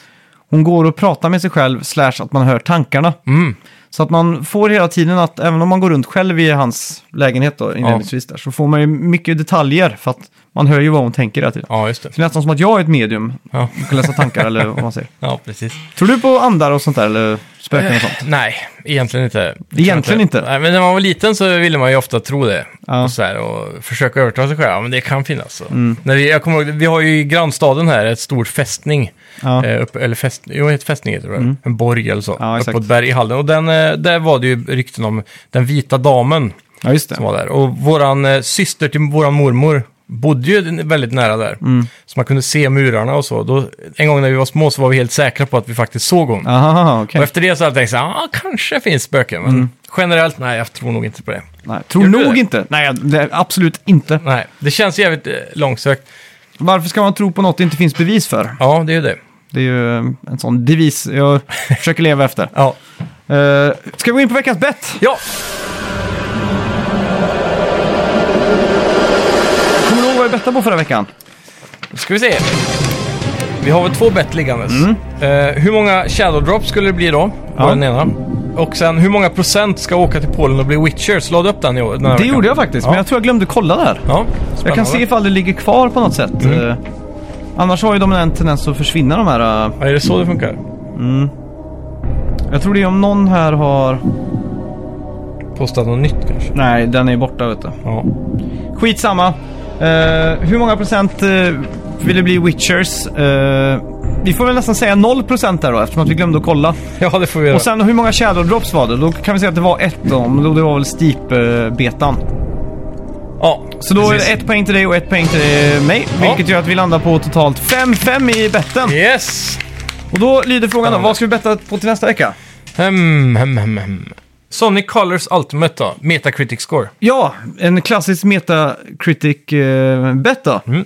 A: hon går och pratar med sig själv, slash att man hör tankarna.
B: Mm.
A: Så att man får hela tiden att, även om man går runt själv i hans lägenhet då, inledningsvis där, så får man ju mycket detaljer för att man hör ju vad hon tänker hela tiden.
B: Ja, just det.
A: Så det är nästan som att jag är ett medium
B: Ja,
A: och kan läsa tankar eller vad man säger.
B: ja precis.
A: Tror du på andar och sånt där, eller spöken och sånt?
B: Nej, egentligen inte. Det tror
A: Egentligen
B: jag
A: inte?
B: Nej, men när man var liten så ville man ju ofta tro det.
A: Ja. Mm.
B: Och, så här, och försöka övertala sig själv. Ja, men det kan finnas. Så. När vi, jag kommer ihåg, vi har ju i grannstaden här ett stort fästning.
A: Ja. Mm.
B: Eh, upp, eller fäst, jo, ett fästning heter det väl? En borg eller så.
A: Ja,
B: uppe
A: exakt.
B: på ett berg i hallen. Och den, eh, där var det ju rykten om den vita damen
A: Ja, just
B: som
A: det.
B: var där. Och våran eh, syster till våran mormor bodde ju väldigt nära där.
A: Mm.
B: Så man kunde se murarna och så. Då, en gång när vi var små så var vi helt säkra på att vi faktiskt såg hon.
A: Aha, okej.
B: Och efter det så har jag tänkt så här, ah, kanske finns spöken. Men
A: Mm.
B: generellt, nej, jag tror nog inte på det.
A: Nej, Tror
B: Gör du
A: nog
B: det?
A: inte. Nej, det, absolut inte.
B: Nej, det känns jävligt eh, långsökt.
A: Varför ska man tro på något det inte finns bevis för?
B: Ja, det är ju det.
A: Det är ju eh, en sån devis
B: <laughs>
A: jag försöker leva efter. Eh,
B: Ja.
A: Uh, ska vi gå in på veckans bett?
B: ja,
A: jag bettade på förra veckan?
B: Då ska vi se. Vi har väl två bett liggandes. Eh, hur många shadow drops skulle det bli då? Var
A: Mm. Ja.
B: den ena. Och sen hur många procent ska åka till Polen och bli Witchers? Lade upp den i år? Den här
A: Det
B: veckan?
A: gjorde jag faktiskt,
B: Ja.
A: men jag tror jag glömde kolla där.
B: Ja, Mm.
A: Jag kan
B: spännande.
A: se ifall det ligger kvar på något sätt. Eh, annars har ju de en tendens att försvinna de här. eh,
B: Ja, är det så det funkar?
A: jag tror det är om någon här har...
B: Postat något nytt kanske?
A: Nej, den är borta vet du.
B: Ja.
A: Skitsamma. Eh, hur många procent eh, vill det bli Witchers? Eh, vi får väl nästan säga 0 procent där då eftersom att vi glömde att kolla.
B: ja, det får vi göra.
A: Och sen hur många Shadow Drops var det? Då kan vi säga att det var ett då, men då det var väl Steep-betan.
B: ja,
A: Så då är
B: precis.
A: det ett poäng till dig och ett poäng till eh, mig.
B: Ja.
A: Vilket gör att vi landar på totalt 5-5 i betten.
B: Yes!
A: Och då lyder frågan då, vad ska vi betta på till nästa vecka?
B: Hmm, hmm, hmm, hmm. Sonic Colors Ultimate då? Metacritic score.
A: Ja, en klassisk Metacritic eh, bet då.
B: Mm.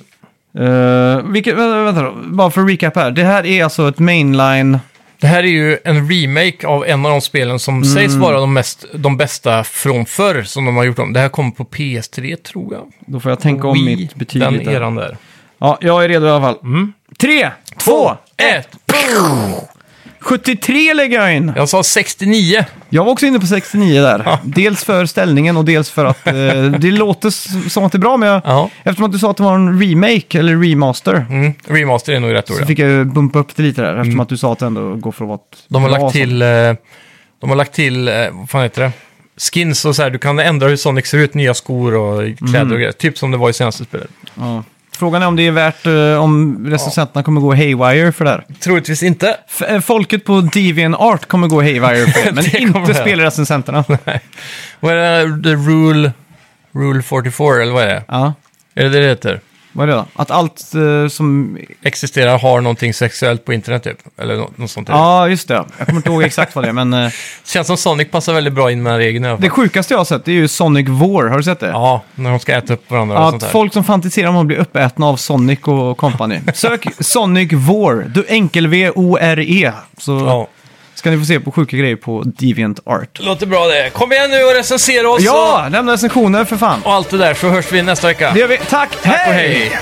A: Eh, vilket, vänta, vänta då, bara för att recap här. Det här är alltså ett mainline...
B: Det här är ju en remake av en av de spelen som
A: Mm.
B: sägs vara de, mest, de bästa från förr som de har gjort om. Det här kom på PS3 tror jag.
A: Då får jag tänka om
B: Wii,
A: mitt betyg
B: den
A: lite.
B: eran Mm. där.
A: Ja, jag är redo i alla fall. Tre, två,
B: ett!
A: 73 lägger jag in.
B: Jag sa 69.
A: Jag var också inne på 69 där. dels för ställningen och dels för att eh, det låter s- som att det är bra, men jag,
B: Ja.
A: eftersom att du sa att det var en remake eller remaster
B: Mm. Remaster är nog rätt ord.
A: så
B: ja.
A: fick jag ju bumpa upp det lite där eftersom att du sa att det ändå går för att vara ett
B: De har
A: bra
B: lagt
A: sånt.
B: till, eh, de har lagt till, eh, vad fan heter det? Skins och så här, du kan ändra hur Sonic ser ut, nya skor och kläder
A: Mm.
B: och grejer. Typ som det var i senaste spelet.
A: Ja. Frågan är om det är värt, eh, om recensenterna kommer gå haywire för det här.
B: Troligtvis inte.
A: F- eh, folket på DeviantArt kommer gå haywire
B: <laughs>
A: för det, men
B: Det kommer
A: inte
B: det. <laughs>
A: spelrecensenterna.
B: Vad är det? The Rule, rule 44, eller vad är det?
A: ja,
B: Är det det det heter?
A: vad är det då? Att allt eh, som...
B: Existerar, har någonting sexuellt på internet typ. Eller nå- något sånt. där.
A: Ja, just det. Jag kommer inte ihåg exakt vad det är, men...
B: <laughs>
A: eh,
B: Känns som Sonic passar väldigt bra in med den regeln i alla
A: Det
B: fall.
A: sjukaste jag har sett det är ju Sonic War, har du sett det?
B: Ja, när de ska äta upp varandra och sånt
A: Att
B: där.
A: folk som fantiserar om att bli uppätna av Sonic och company.
B: <laughs>
A: Sök Sonic War, du enkel-V-O-R-E. E. Så
B: Ja.
A: ska ni få se på sjuka grejer på Deviant Art.
B: Låter bra det. Kom igen nu och recensera oss
A: Ja, lämna recensioner för fan.
B: och, och allt det där, så hörs vi nästa vecka.
A: Det gör vi. Tack,
B: Tack och hej.